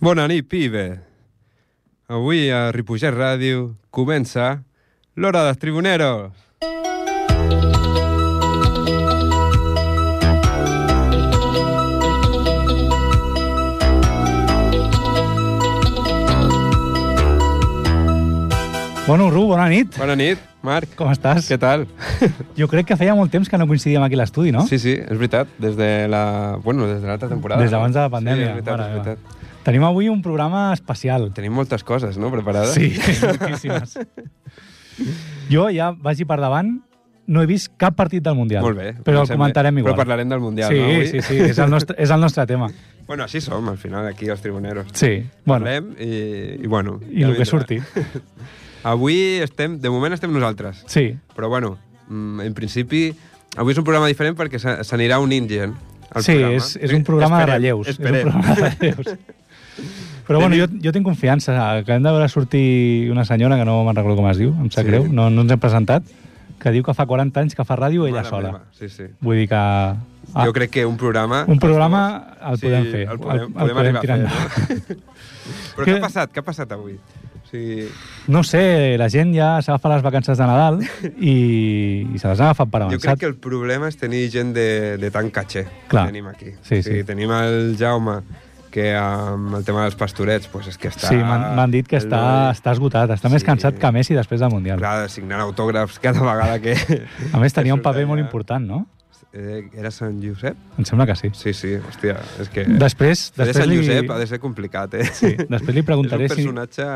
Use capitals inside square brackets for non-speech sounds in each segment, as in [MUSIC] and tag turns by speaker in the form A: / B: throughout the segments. A: Bona nit, pibe. Avui a Ripollet Ràdio comença l'Hora dels Tribuneros.
B: Bueno, Ru, bona nit.
A: Bona nit, Marc.
B: Com estàs?
A: Què tal?
B: Jo crec que feia molt temps que no coincidíem aquí a l'estudi, no?
A: Sí, sí, és veritat, des de la... Bueno, des de l'altra temporada.
B: Des d'abans de la
A: Sí,
B: pandèmia.
A: és veritat,
B: mare
A: és
B: meva.
A: veritat.
B: Tenim avui un programa especial.
A: Tenim moltes coses, no?, preparades.
B: Sí, [LAUGHS] moltíssimes. jo ja vagi per davant, no he vist cap partit del Mundial.
A: Molt bé.
B: Però el
A: comencem
B: comentarem
A: bé.
B: igual.
A: Però parlarem del Mundial,
B: sí,
A: no, avui?
B: Sí, sí, és el, nostre, és el nostre tema.
A: Bueno, així som, al final, aquí, els tribuneros.
B: Sí, bueno,
A: Parlem i, i bueno...
B: i el que surti.
A: Avui estem... De moment estem nosaltres.
B: Sí,
A: Però bueno, mm, en principi, avui és un programa diferent perquè se- s'anirà un indien al
B: sí
A: programa.
B: és, és un programa
A: Esperem,
B: de relleus.
A: Esperem.
B: És un programa de
A: [LAUGHS]
B: relleus. Però bueno, jo, jo tinc confiança. Acabem de veure sortir una senyora, que no me'n recordo com es diu, em sap
A: Sí.
B: sí. greu, no, no ens hem presentat, que diu que fa 40 anys que fa ràdio ella
A: Mare
B: sola.
A: meva, Sí, sí.
B: Vull dir que...
A: Ah. Jo crec que un programa...
B: Un programa
A: els dos,
B: el podem fer.
A: El podem,
B: El- el
A: podem,
B: podem
A: arribar
B: tirar
A: a fer. No? [LAUGHS] Però
B: Que-
A: què ha passat? Què ha passat avui? O sigui,
B: [LAUGHS] No sé, la gent ja s'agafa les vacances de Nadal i, i se les ha agafat per
A: jo
B: avançat.
A: crec que el problema és tenir gent de, de tan caché
B: Clar.
A: que tenim aquí. o
B: Sí,
A: sigui,
B: sí.
A: Tenim el Jaume, que amb el tema dels pastorets pues és que està...
B: Sí, m'han m'han dit que
A: el-
B: està, està esgotat, està més
A: Sí.
B: cansat que Messi després del Mundial.
A: Clar, de signar autògrafs cada vegada que...
B: A més, tenia
A: que
B: un paper
A: surt
B: molt
A: allà.
B: important, no?
A: Eh, Era Sant Josep?
B: Em sembla que sí.
A: Sí, sí, hòstia, és que...
B: Després,
A: fer de
B: després,
A: Sant
B: li,
A: Josep ha de ser complicat, eh? [LAUGHS]
B: sí, després li preguntaré
A: és un
B: si...
A: personatge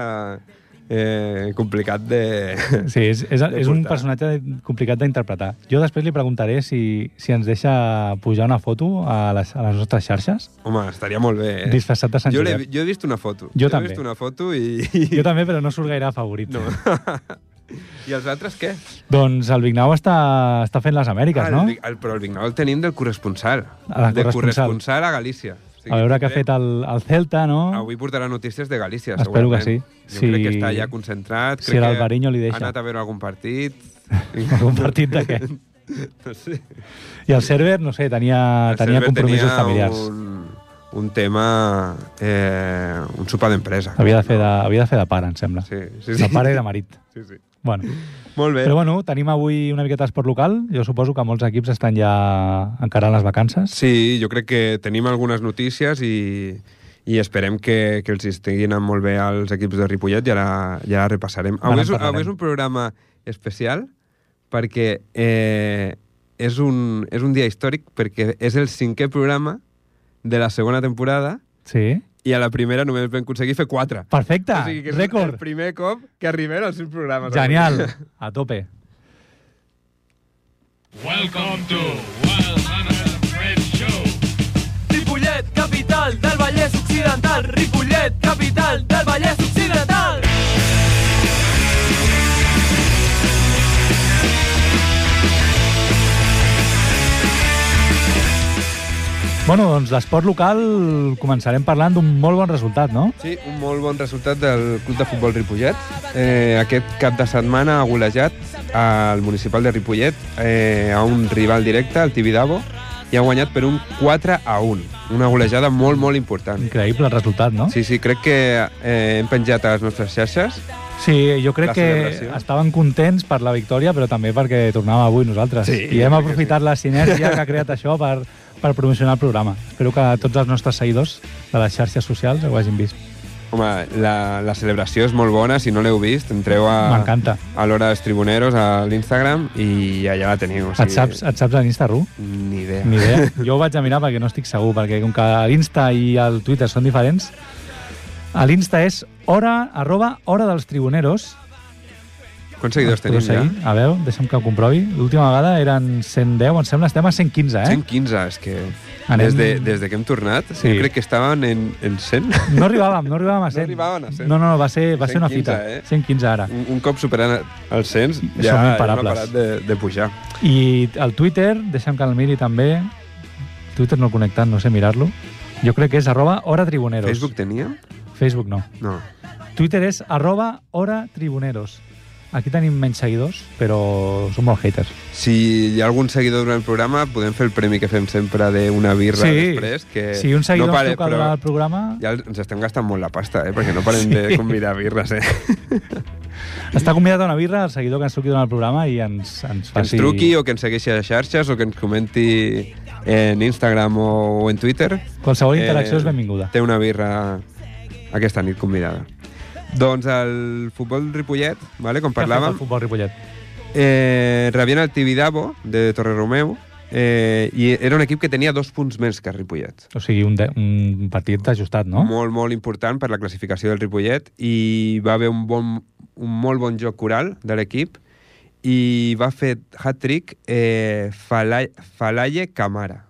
A: eh, complicat de...
B: [LAUGHS] Sí, és, és,
A: de
B: és un
A: portar.
B: personatge complicat d'interpretar. Jo després li preguntaré si, si ens deixa pujar una foto a les, a les nostres xarxes,
A: Home, estaria molt bé, eh?
B: disfressat de Sant
A: jo, l'he
B: Josep.
A: vi- jo he vist una foto.
B: Jo
A: He
B: també.
A: vist una foto i...
B: [LAUGHS] Jo també, però no surt gaire afavorit.
A: No. I els altres què?
B: [LAUGHS]
A: Ah,
B: Doncs el Vignau està, està fent les Amèriques,
A: el,
B: no?
A: Vic- el, però el Vignau el tenim del corresponsal.
B: Ah,
A: de
B: corresponsal.
A: corresponsal a Galícia. O sigui,
B: A veure què ha
A: eh, Ah,
B: fet el, el Celta, no?
A: Avui portarà notícies de Galícia,
B: Espero que
A: segurament.
B: sí.
A: Jo
B: Si-
A: crec que està ja concentrat.
B: si
A: crec que
B: l'Alvariño li deixa.
A: Ha anat a veure algun partit.
B: [LAUGHS] Algun
A: [LAUGHS]
B: partit d'aquest.
A: No sé.
B: I el Cerver, no sé, tenia,
A: El
B: Ah, tenia
A: Cerver
B: compromisos
A: tenia
B: familiars.
A: Un, un tema... Eh, un sopar d'empresa.
B: Havia, de fer de, havia de fer de pare, em sembla.
A: Sí, sí, sí.
B: De pare
A: [LAUGHS]
B: i de marit.
A: Sí, sí.
B: Bueno.
A: Molt bé.
B: Però bueno, tenim avui una miqueta d'esport local. Jo suposo que molts equips estan ja encarant les vacances.
A: Sí, jo crec que tenim algunes notícies i, i esperem que, que els estiguin anant molt bé als equips de Ripollet, ja la, ja la repassarem.
B: Ara en
A: Avui és, un-
B: parlarem.
A: avui és un programa especial perquè eh, és, un, és un dia històric perquè és el cinquè programa de la segona temporada
B: Sí.
A: i a la primera només vam aconseguir fer quatre.
B: Perfecte,
A: o sigui que és el
B: Ah, rècord.
A: primer cop que arribem als cinc programes.
B: Genial,
A: [LAUGHS]
B: a tope.
C: Welcome to Wild Hunter Red Show.
D: Ripollet, capital del Vallès Occidental. Ripollet, capital del Vallès Occidental.
B: Bueno, doncs l'esport local començarem parlant d'un molt bon resultat, no?
A: Sí, un molt bon resultat del Club de Futbol Ripollet. Eh, aquest cap de setmana ha golejat al municipal de Ripollet eh, a un rival directe, el Tibidabo, i ha guanyat per un 4 a 1. Una golejada molt, molt important.
B: Increïble el resultat, no?
A: Sí, sí, crec que eh, hem penjat a les nostres xarxes.
B: Sí, jo crec
A: La
B: que
A: celebració.
B: estaven contents per la victòria, però també perquè tornàvem avui nosaltres.
A: Sí,
B: I hem
A: jo crec
B: aprofitat la sinergia que ha creat això per, per promocionar el programa. Espero que tots els nostres seguidors de les xarxes socials ho hagin vist.
A: Home, la, la celebració és molt bona, si no l'heu vist, entreu a,
B: M'encanta.
A: a l'hora dels tribuneros a l'Instagram i allà la teniu. O
B: Et saps, eh? et saps a l'Insta, Ru?
A: Ni idea.
B: Ni idea. Jo ho vaig a mirar perquè no estic segur, perquè com que l'Insta i el Twitter són diferents, a l'Insta és hora, arroba, hora dels tribuneros.
A: Quants seguidors
B: Podeu
A: tenim ja?
B: seguir? A veure, deixa'm que ho comprovi. L'última vegada eren 110, em sembla, estem a 115, eh?
A: 115, és que
B: Anem-
A: des, de, des de que hem tornat,
B: Sí.
A: jo crec que estaven en, en 100.
B: No arribàvem, no arribàvem a 100.
A: arribaven a 100.
B: No, no, va ser, va ser una
A: 115,
B: fita.
A: eh?
B: 115 ara.
A: Un, un cop superant els 100,
B: Som
A: ja, ja no ha
B: imparables.
A: parat de, de pujar.
B: I el Twitter, deixa'm que el miri també. Twitter no el connectat, no sé mirar-lo. Jo crec que és arroba hora tribuneros.
A: Facebook teníem?
B: Facebook no.
A: No.
B: Twitter és arroba hora tribuneros. Aquí tenim menys seguidors, però som molt haters.
A: Si hi ha algun seguidor durant el programa, podem fer el premi que fem sempre d'una birra després. Que
B: si un
A: Eh, no
B: seguidor no
A: pare,
B: ens truca
A: però
B: durant el programa,
A: Ja ens estem gastant molt la pasta, eh? perquè no parem de
B: Sí. Ah,
A: convidar birres. Eh?
B: està convidat a una birra el seguidor que ens truqui durant el programa i ens, ens
A: Que ens
B: faci...
A: truqui o que ens segueixi a les xarxes o que ens comenti en Instagram o, o en Twitter. Eh,
B: Qualsevol interacció és benvinguda.
A: Té una birra aquesta nit convidada. Doncs el futbol Ripollet, vale, com
B: Què ha fet
A: parlàvem,
B: el futbol Ripollet.
A: eh, rebien el Tibidabo de Torreromeu eh, i era un equip que tenia dos punts més que el Ripollet.
B: O sigui, un, de, un partit ajustat, no?
A: Molt, molt important per la classificació del Ripollet i va haver un, bon, un molt bon joc coral de l'equip i va fer hat-trick eh, Fala- Falaye Camara.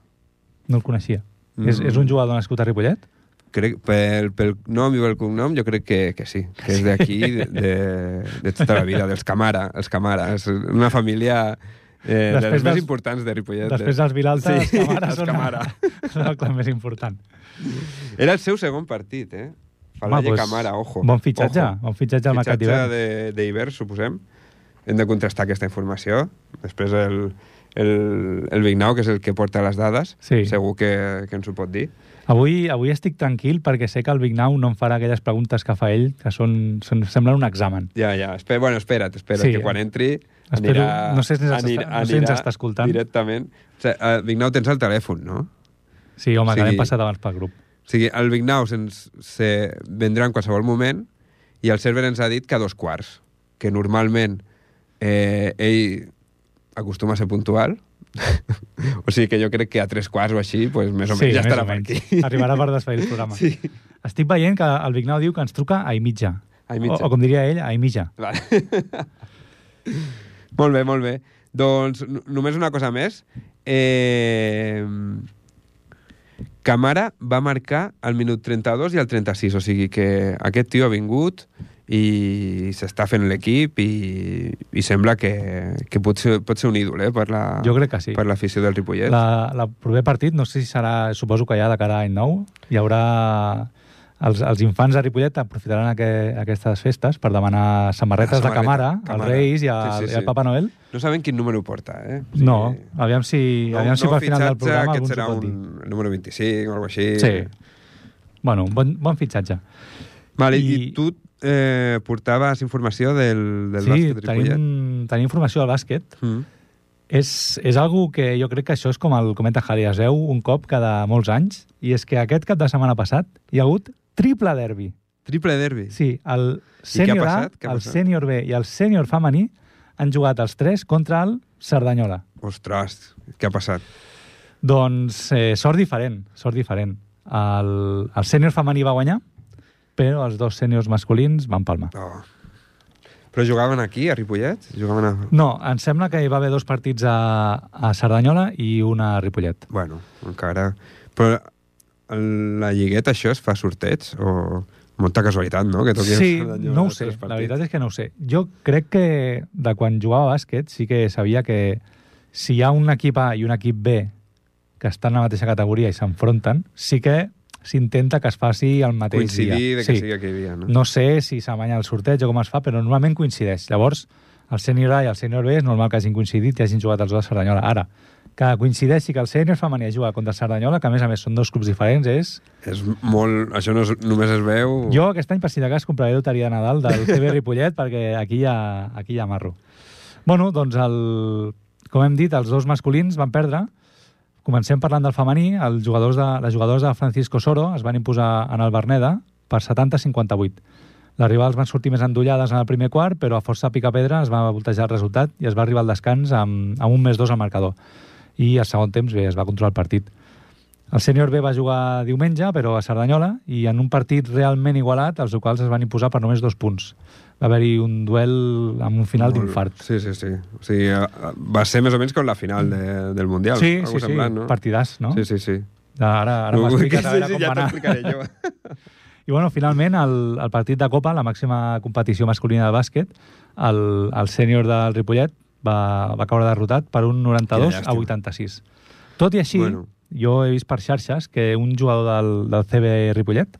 B: No el coneixia.
A: Mm.
B: Mm. És, és un jugador nascut a Ripollet?
A: Crec, pel, pel nom i pel cognom jo crec que, que sí, que és d'aquí de, de, de tota la vida, dels Camara, els Camara. És una família eh, de les
B: Després dels-
A: més importants de Ripollet. eh.
B: Després dels Vilalta, sí, els Camara
A: els
B: són,
A: Camara.
B: [LAUGHS] són el clan més important.
A: Era el seu segon partit, eh? Falaye
B: doncs,
A: Camara, ojo.
B: Bon fitxatge,
A: Ojo.
B: bon fitxatge al mercat
A: Fitxatge
B: d'hivern.
A: de- d'hivern, suposem. Hem de contrastar aquesta informació. Després el, el, el Vignau, que és el que porta les dades,
B: Sí.
A: segur que, que ens ho pot dir.
B: Avui, avui estic tranquil perquè sé que el Big Now no em farà aquelles preguntes que fa ell, que són, són semblen un examen.
A: Ja, ja. Espe bueno, espera't, espera't,
B: Sí, eh.
A: que quan entri
B: Espero-
A: anirà...
B: no sé si ens està- no sé si ens està escoltant.
A: Directament. O sigui, el Vignau tens el telèfon, no?
B: Sí, home,
A: O
B: sí. que l'hem
A: sigui-
B: passat abans pel grup.
A: O sigui, el Vignau se'ns se vendrà en qualsevol moment i el server ens ha dit que a dos quarts, que normalment eh, ell acostuma a ser puntual, [LAUGHS] o sigui que jo crec que a tres quarts o així, pues, més o menys, ja estarà per aquí.
B: [LAUGHS] Arribarà per desfer el programa.
A: Sí.
B: Estic veient que el Big Now diu que ens truca a i mitja.
A: A i mitja.
B: O, o, com diria ell, a i mitja.
A: Vale. [LAUGHS] molt bé, molt bé. Doncs no- només una cosa més. Eh... Camara va marcar al minut 32 i al 36, o sigui que aquest tio ha vingut i s'està fent l'equip i, i sembla que, que pot, ser, pot ser un ídol eh, per la-
B: Jo crec que sí.
A: per l'afició la del Ripollet.
B: La, la proper partit, no sé si serà, suposo que ja de cara a any nou, hi haurà... Els, els infants de Ripollet aprofitaran aqu aquestes festes per demanar samarretes
A: La
B: de Camara,
A: Ah, samarreta,
B: als
A: Camara.
B: Reis i al,
A: Sí, sí,
B: i al
A: sí.
B: Papa Noel.
A: No saben quin número porta, eh? O
B: Sí.
A: sigui,
B: No, aviam si,
A: no-
B: aviam si
A: no
B: pel final del
A: fitxatge, Aquest
B: programa algú ens ho
A: serà
B: pot
A: un eh,
B: dir.
A: número 25 o alguna cosa així.
B: Sí. Bueno, un bon, bon fitxatge.
A: Vale, I,
B: I-
A: i tu eh, portaves informació del, del
B: sí,
A: bàsquet Ripollet.
B: tenim, tenim informació del bàsquet.
A: Mm.
B: És, és algo que jo crec que això és com el cometa Halley. Es veu un cop cada molts anys i és que aquest cap de setmana passat hi ha hagut triple derbi.
A: Triple derbi.
B: Sí, el
A: què ha
B: sènior A,
A: passat? Què ha
B: el
A: passat?
B: sènior B i el sènior femení han jugat els tres contra el Cerdanyola.
A: Ostres, què ha passat?
B: Doncs eh, sort diferent, sort diferent. El, el sènior femení va guanyar, però els dos sèniors masculins van palmar.
A: Oh. Però jugaven aquí, a Ripollet? Jugaven a...
B: No, em sembla que hi va haver dos partits a, a Cerdanyola i una a Ripollet.
A: Bueno, encara... Però el- la lligueta, això, es fa sorteig? O... Molta casualitat, no? Que toqui [LAUGHS]
B: Sí,
A: el Cerdanyola
B: no ho
A: els
B: sé,
A: tres
B: la
A: partits.
B: veritat és que no ho sé. Jo crec que de quan jugava a bàsquet sí que sabia que si hi ha un equip A i un equip B que estan a la mateixa categoria i s'enfronten, sí que s'intenta que es faci el mateix
A: Coincidir
B: dia.
A: de que sí. sigui aquell dia, no?
B: No sé si s'amanya el sorteig o com es fa, però normalment coincideix. Llavors, el sènior A i el sènior B és normal que hagin coincidit i hagin jugat els dos a Cerdanyola. Ara, que coincideixi que el sènior femení juga contra Cerdanyola, que a més a més són dos clubs diferents, és...
A: És molt... Això no és... només es veu...
B: Jo aquest any, per si de cas, compraré loteria de Nadal del CB Ripollet perquè aquí hi ha, aquí hi ha marro. Bueno, doncs, el, com hem dit, els dos masculins van perdre. Comencem parlant del femení. Els jugadors de, les jugadores de Francisco Soro es van imposar en el Berneda per 70-58. Les rivals van sortir més endollades en el primer quart, però a força picapedra es va voltejar el resultat i es va arribar al descans amb, amb un més dos al marcador. I al segon temps, bé, es va controlar el partit. El sènior B va jugar diumenge, però a Cerdanyola, i en un partit realment igualat, els locals es van imposar per només dos punts. Va haver-hi un duel amb un final
A: Molt-
B: d'infart.
A: Sí, sí, sí. O sigui, eh, va ser més o menys com la final de, del Mundial.
B: Sí,
A: algo
B: sí, sí,
A: semblant, no?
B: partidàs, no?
A: Sí, sí, sí.
B: Ara, ara m'expliques a veure com va
A: ja
B: anar.
A: t'explicaré jo.
B: [LAUGHS] I bueno, finalment, el, el partit de Copa, la màxima competició masculina de bàsquet, el, el sènior del Ripollet va, va caure derrotat per un 92
A: Quina
B: a
A: llàstima.
B: 86. Tot i així,
A: Bueno.
B: bueno. jo he vist per xarxes que un jugador del, del CB Ripollet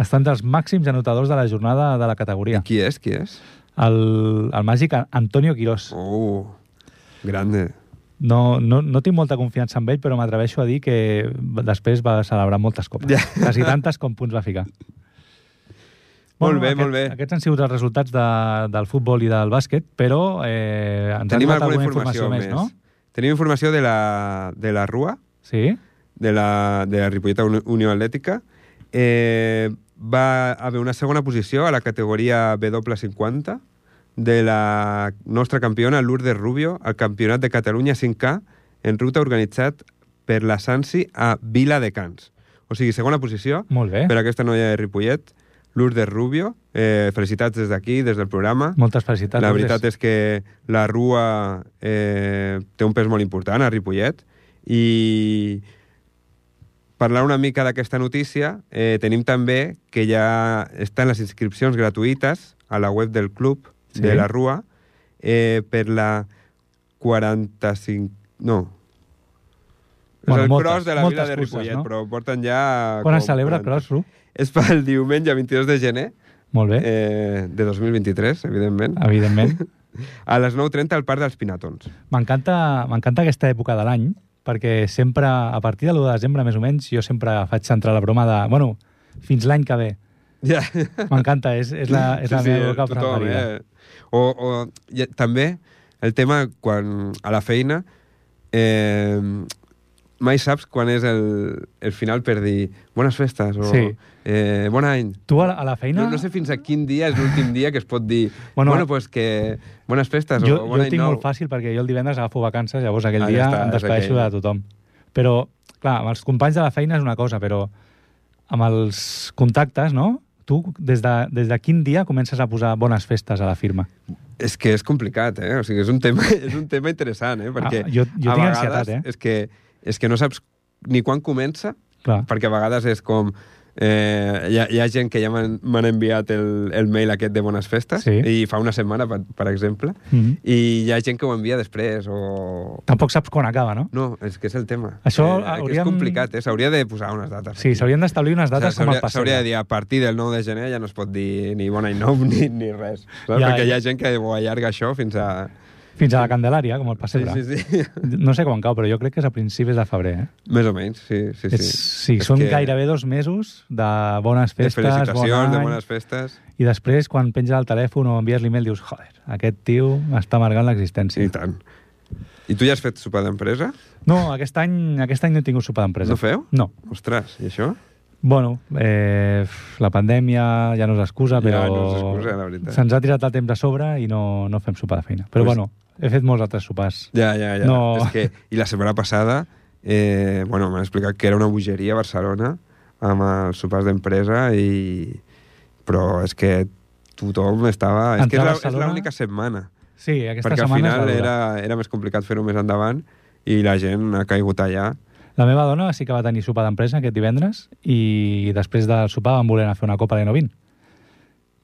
B: està entre els màxims anotadors de la jornada de la categoria.
A: Qui és, qui és?
B: el, el màgic Antonio Quirós.
A: Uh, grande.
B: No, no, no tinc molta confiança en ell, però m'atreveixo a dir que després va celebrar moltes copes.
A: Ja.
B: Ja. Quasi tantes com punts va ficar.
A: Molt bé, molt bé.
B: Aquests han sigut els resultats de, del futbol i del bàsquet, però eh, ens
A: Tenim
B: ha arribat
A: alguna
B: alguna
A: informació,
B: informació, més,
A: més.
B: no?
A: Tenim informació de la, de la Rua,
B: Sí?
A: de la, de la Ripolleta Uni- Unió Atlètica. Eh, va haver una segona posició a la categoria W50 de la nostra campiona Lourdes Rubio al Campionat de Catalunya 5K en ruta organitzat per la Sansi a Vila de Cans. O sigui, segona posició
B: Molt bé.
A: per aquesta noia de Ripollet, Lourdes Rubio. Eh, felicitats des d'aquí, des del programa.
B: Moltes felicitats.
A: La veritat és que la Rua eh, té un pes molt important a Ripollet i parlar una mica d'aquesta notícia, eh, tenim també que ja estan les inscripcions gratuïtes a la web del club
B: Sí.
A: sí. de la Rua eh, per la 45... No. és
B: Bueno,
A: el
B: moltes-
A: cross de la
B: moltes
A: Vila de
B: curses,
A: Ripollet,
B: no?
A: però porten ja...
B: Quan
A: com
B: es celebra
A: 40.
B: Cross, Ru?
A: És pel diumenge 22 de gener
B: Molt bé, eh, Ah.
A: eh, de 2023, evidentment. [LAUGHS]
B: evidentment.
A: A les 9.30 al Parc dels Pinatons.
B: M'encanta m'encanta aquesta època de l'any, perquè sempre, a partir de l'1 de desembre, més o menys, jo sempre faig centrar la broma de... Bueno, fins l'any que ve.
A: Ja.
B: M'encanta, és, és la, és la meva època preferida.
A: eh? O, o ja, també el tema quan a la feina eh, mai saps quan és el, el final per dir bones festes o
B: Sí.
A: eh, bon any.
B: Tu a la, a la feina...
A: No, no sé fins a quin dia és l'últim dia que es pot dir bueno,
B: Bueno,
A: bueno pues que bones festes
B: jo,
A: o
B: jo
A: bon
B: ho
A: any
B: tinc
A: nou.
B: molt fàcil perquè jo el divendres agafo vacances, llavors aquell
A: Ah, ja
B: dia
A: està,
B: em
A: és
B: despedeixo de
A: aquell.
B: tothom. Però, clar, amb els companys de la feina és una cosa, però amb els contactes, no? Tu, des de, des de quin dia comences a posar bones festes a la firma?
A: És que és complicat, eh? O sigui, és un tema, [LAUGHS] és un tema interessant, eh? Perquè
B: Ah, jo- jo
A: a
B: tinc
A: vegades
B: ansietat, eh?
A: és que, és que no saps ni quan comença,
B: Clar.
A: perquè a vegades és com... Eh, hi, ha, hi ha gent que ja m'han m'han enviat el, el mail aquest de Bones Festes,
B: Sí.
A: i fa una setmana, per, per exemple,
B: Mhm.
A: i hi ha gent que ho envia després, o...
B: Tampoc saps quan acaba, no?
A: No, és que és el tema.
B: Això
A: que
B: hauríem-
A: És complicat, eh? S'hauria de posar unes dates.
B: Sí,
A: aquí.
B: s'haurien d'establir unes dates com el
A: S'hauria
B: passeig.
A: s'hauria de dir, a partir del 9 de gener ja no es pot dir ni bon any nou [LAUGHS] ni, ni res. Saps?
B: Ja,
A: Perquè
B: ja.
A: hi ha gent que ho allarga això fins a...
B: Fins a la Candelària, com el pessebre.
A: Sí, sí, sí.
B: No sé quan cau, però jo crec que és a principis de febrer. Eh?
A: [LAUGHS] Més o menys, sí, sí, sí.
B: És, sí
A: És
B: són
A: que-
B: gairebé dos mesos de bones
A: De
B: festes, bon any,
A: felicitacions, de bones festes...
B: i després, quan penges el telèfon o envies l'email, dius, joder, aquest tio m'està amargant
A: Sí.
B: l'existència.
A: I tant. I tu ja has fet sopar d'empresa?
B: No, aquest any, aquest any no he tingut sopar d'empresa.
A: No feu?
B: No.
A: Ostres, i això?
B: Bueno, eh, la pandèmia ja no és excusa,
A: Ja
B: però
A: no és excusa, la veritat.
B: se'ns ha tirat el temps a sobre i no, no fem sopar de feina. Però
A: Pues-
B: pues... bueno, he fet molts altres sopars.
A: Ja, ja, ja.
B: No.
A: És que, I la setmana passada, eh, bueno, m'han explicat que era una bogeria a Barcelona amb els sopars d'empresa i... Però és que tothom estava... És que
B: Entrar a
A: és la- és
B: Barcelona-
A: l'única setmana.
B: Sí, aquesta
A: perquè al
B: setmana és
A: final
B: la dura.
A: era, era més complicat fer-ho més endavant i la gent ha caigut allà.
B: La meva dona sí que va tenir sopar d'empresa aquest divendres i després del sopar van voler anar a fer una copa de 9-20.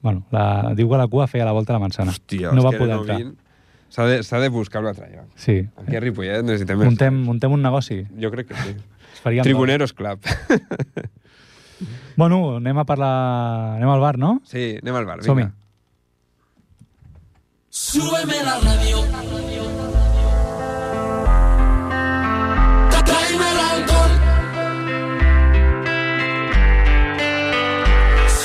B: Bueno, la, diu que la cua feia la volta a la manzana.
A: Hòstia,
B: no
A: és
B: va
A: que
B: poder
A: no
B: entrar.
A: vin- S'ha de, s'ha de buscar un altre lloc.
B: Sí.
A: Aquí a Ripollet necessitem... els-
B: Muntem, muntem un negoci.
A: Jo crec que sí.
B: Es faria amb
A: Tribuneros Club. [LAUGHS]
B: dos. Bueno, anem a parlar... Anem al bar, no?
A: Sí, anem al bar.
B: Som-hi.
A: vinga.
E: Súbeme la radio. Tráeme el alcohol.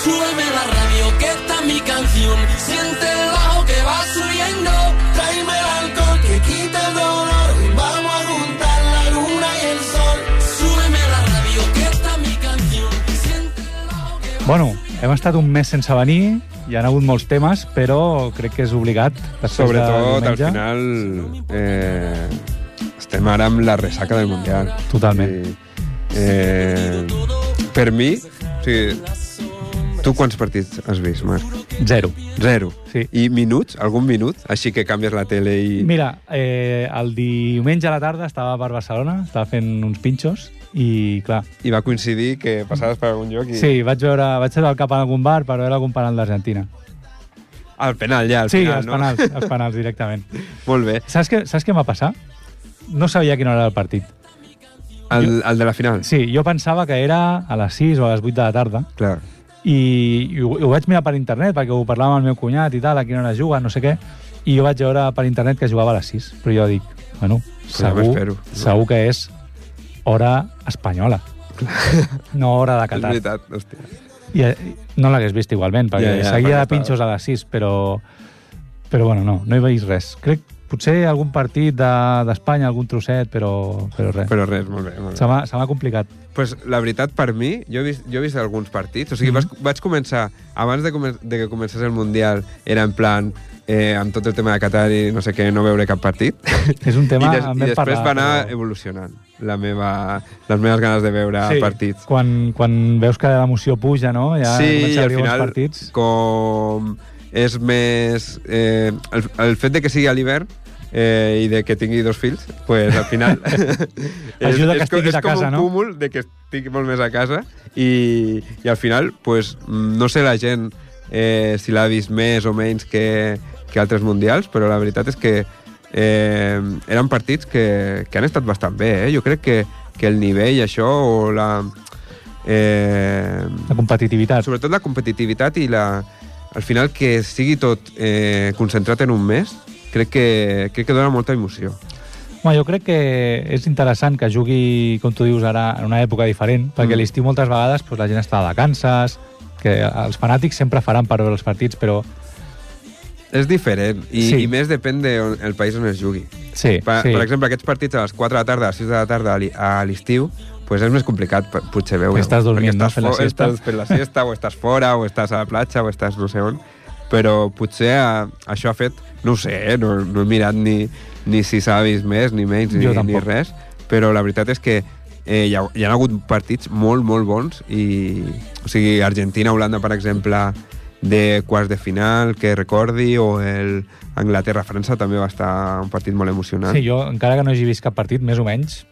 E: Súbeme la radio, que esta es mi canción. Siente el bajo que va subiendo. Tráeme el alcohol, que quita el dolor. Y vamos a juntar la luna y el sol. Súbeme la radio, que esta es mi canción. Siente el bajo que va
B: Bueno, hem estat un mes sense venir, hi ha hagut molts temes, però crec que és obligat. després de
A: Sobretot, al
B: diumenge.
A: final, eh, estem ara amb la ressaca del Mundial.
B: Totalment.
A: I, eh, per mi, o sigui, tu quants partits has vist, Marc?
B: Zero.
A: Zero.
B: Sí.
A: I minuts? Algun minut? Així que canvies la tele i...
B: Mira, eh, el diumenge a la tarda estava per Barcelona, estava fent uns pinxos i, clar,
A: I va coincidir que passaves per algun lloc i...
B: Sí, vaig veure, vaig anar al cap a algun bar per veure algun penal d'Argentina.
A: Al penal, ja, al
B: Sí,
A: final,
B: els
A: no?
B: penals, els penals directament.
A: [LAUGHS] Molt bé.
B: Saps què, saps què m'ha passat? No sabia a quina hora era el partit.
A: El, el de la final?
B: Sí, jo pensava que era a les 6 o a les 8 de la tarda
A: Clar.
B: i, i ho, i ho vaig mirar per internet perquè ho parlava amb el meu cunyat i tal, a quina hora juga, no sé què, i jo vaig veure per internet que jugava a les 6, però jo dic, bueno, segur,
A: m'espero.
B: segur que és hora espanyola, no hora de
A: És
B: Qatar.
A: veritat, hòstia.
B: I, eh, no l'hagués vist igualment, perquè
A: Ja, ja,
B: seguia
A: perquè
B: de pinxos a les 6, però, però bueno, no, no hi veig res. Crec potser algun partit de- d'Espanya, algun trosset, però, però res.
A: Però
B: Però...
A: res, molt bé. Molt bé.
B: Se m'ha se m'ha complicat.
A: Pues la veritat, per mi, jo he vist, jo he vist alguns partits. O sigui, mm
B: Mm-hmm.
A: -hmm. vaig, vaig començar, abans de, comen de que començés el Mundial, era en plan, eh, amb tot el tema de Qatar i no sé què, no veure cap partit.
B: És un
A: [LAUGHS]
B: tema...
A: I, des i
B: en vam
A: després
B: parlar,
A: va anar
B: però-
A: evolucionant la meva, les meves ganes de veure partits.
B: Quan, quan veus que l'emoció puja, no? Ja
A: sí, i
B: comença
A: al
B: a haver bons
A: final,
B: partits.
A: com és més... Eh, el, el fet de que sigui a l'hivern eh, i de que tingui dos fills, pues, al final...
B: [LAUGHS]
A: [LAUGHS]
B: Ajuda que
A: com-
B: estiguis a
A: com
B: casa,
A: un
B: no?
A: cúmul de que estic molt més a casa i, i al final, pues, mm, no sé la gent eh, si l'ha vist més o menys que, que altres mundials, però la veritat és que eh, eren partits que, que han estat bastant bé. Eh? Jo crec que, que el nivell, això, o la... Eh,
B: La competitivitat.
A: sobretot la competitivitat i la, al final que sigui tot eh, concentrat en un mes, crec que, crec que dona molta emoció.
B: Home, jo crec que és interessant que jugui, com tu dius ara, en una època diferent, perquè
A: Mm.
B: a l'estiu moltes vegades doncs, la gent està de vacances, que els fanàtics sempre faran per veure els partits, però
A: És diferent i,
B: Sí.
A: sí. i més depèn del de on- el país on es jugui.
B: sí,
A: Per,
B: sí.
A: sí. per exemple, aquests partits a les 4 de la tarda, a les 6 de la tarda a l'hi- a l'estiu, pues és més complicat, per- potser veure.
B: Estàs dormint, no?
A: estàs,
B: Fent la
A: fo-
B: siesta.
A: estàs fent la siesta, o estàs fora, o estàs a la platja, o estàs no sé on. Però potser a, això ha fet... No ho sé, eh? no, no he mirat ni, ni si s'ha vist més, ni menys, ni,
B: Jo
A: ni
B: tampoc.
A: res. eh? Però la veritat és que eh, hi, ha, hi ha hagut partits molt, molt bons. I, o sigui, Argentina-Holanda, per exemple, de quarts de final, que recordi, o el Anglaterra-França també va estar un partit molt emocionant.
B: Sí, jo, encara que no hagi vist cap partit, més o menys,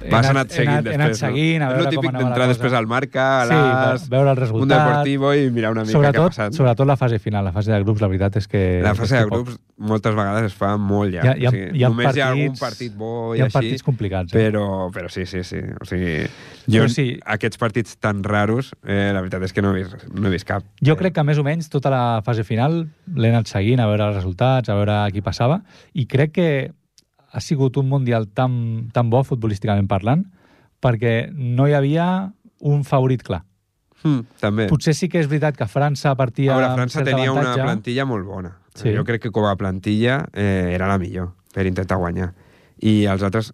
B: he
A: Vas anat, seguint
B: he anat, he
A: després,
B: anat seguint
A: no?
B: a veure
A: És lo
B: com
A: típic
B: anava
A: d'entrar
B: la cosa.
A: després al marca, a
B: Sí,
A: les...
B: ve- veure el resultat.
A: un deportivo i mirar una mica què ha
B: sobretot,
A: passat.
B: sobretot la fase final, la fase de grups, la veritat és que...
A: La fase
B: és
A: de
B: que poc.
A: grups moltes vegades es fa molt llarg.
B: Hi ha- hi ha-
A: o sigui,
B: hi ha
A: només hi ha algun
B: partits-
A: partit bo i
B: hi ha
A: així,
B: partits complicats, eh?
A: Però, però sí, sí, sí. O sigui, jo
B: Però sí.
A: aquests partits tan raros, eh, la veritat és que no he vist, no he vist cap. eh,
B: Jo crec que més o menys tota la fase final l'he anat seguint a veure els resultats, a veure qui passava, i crec que ha sigut un Mundial tan, tan bo futbolísticament parlant perquè no hi havia un favorit clar.
A: Hm, també.
B: Potser sí que és veritat que França partia
A: A veure,
B: amb
A: França
B: cert
A: tenia una
B: avantatge.
A: plantilla molt bona.
B: Sí.
A: Jo crec que com a plantilla eh, era la millor per intentar guanyar. I els altres...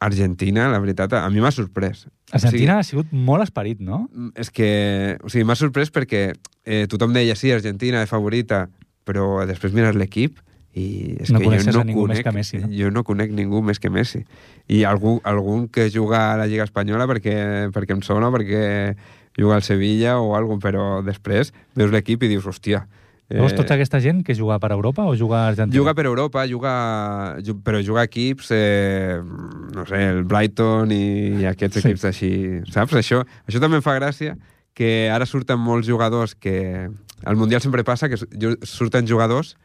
A: Argentina, la veritat, a mi m'ha sorprès.
B: Argentina ha sigut molt esperit, no?
A: Mm, És que, o sigui, m'ha sorprès perquè eh, tothom deia, sí, Argentina és favorita, però després mires l'equip i és
B: No
A: que jo
B: coneixes
A: no
B: a ningú més
A: conec,
B: que Messi, no?
A: jo no conec ningú més que Messi. I algú, algun que juga a la Lliga Espanyola perquè, perquè em sona, perquè juga al Sevilla o algun, però després veus l'equip i dius, hòstia...
B: Llavors, tota aquesta gent que juga per Europa o juga a Argentina?
A: Eh. Juga per Europa, juga, ju- però juga a equips, eh, no sé, el Brighton i, i aquests
B: Sí.
A: sí. equips així, saps? Això, això també em fa gràcia, que ara surten molts jugadors que... Al Mundial sempre passa que su- ju- surten jugadors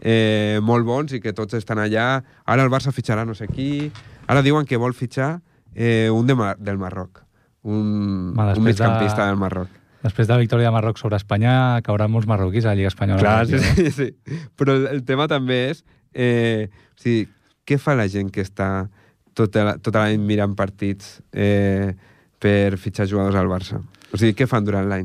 A: eh, molt bons i que tots estan allà. Ara el Barça fitxarà no sé qui. Ara diuen que vol fitxar eh, un de Mar del Marroc. Un,
B: Ma,
A: un
B: després de-
A: migcampista del Marroc.
B: Després de la victòria de Marroc sobre Espanya, cauran molts marroquis a la Lliga Espanyola.
A: Clar, sí, sí, sí. Però el, el tema també és... Eh, o sigui, què fa la gent que està tota la- tota l'any mirant partits eh, per fitxar jugadors al Barça? O sigui, què fan durant l'any?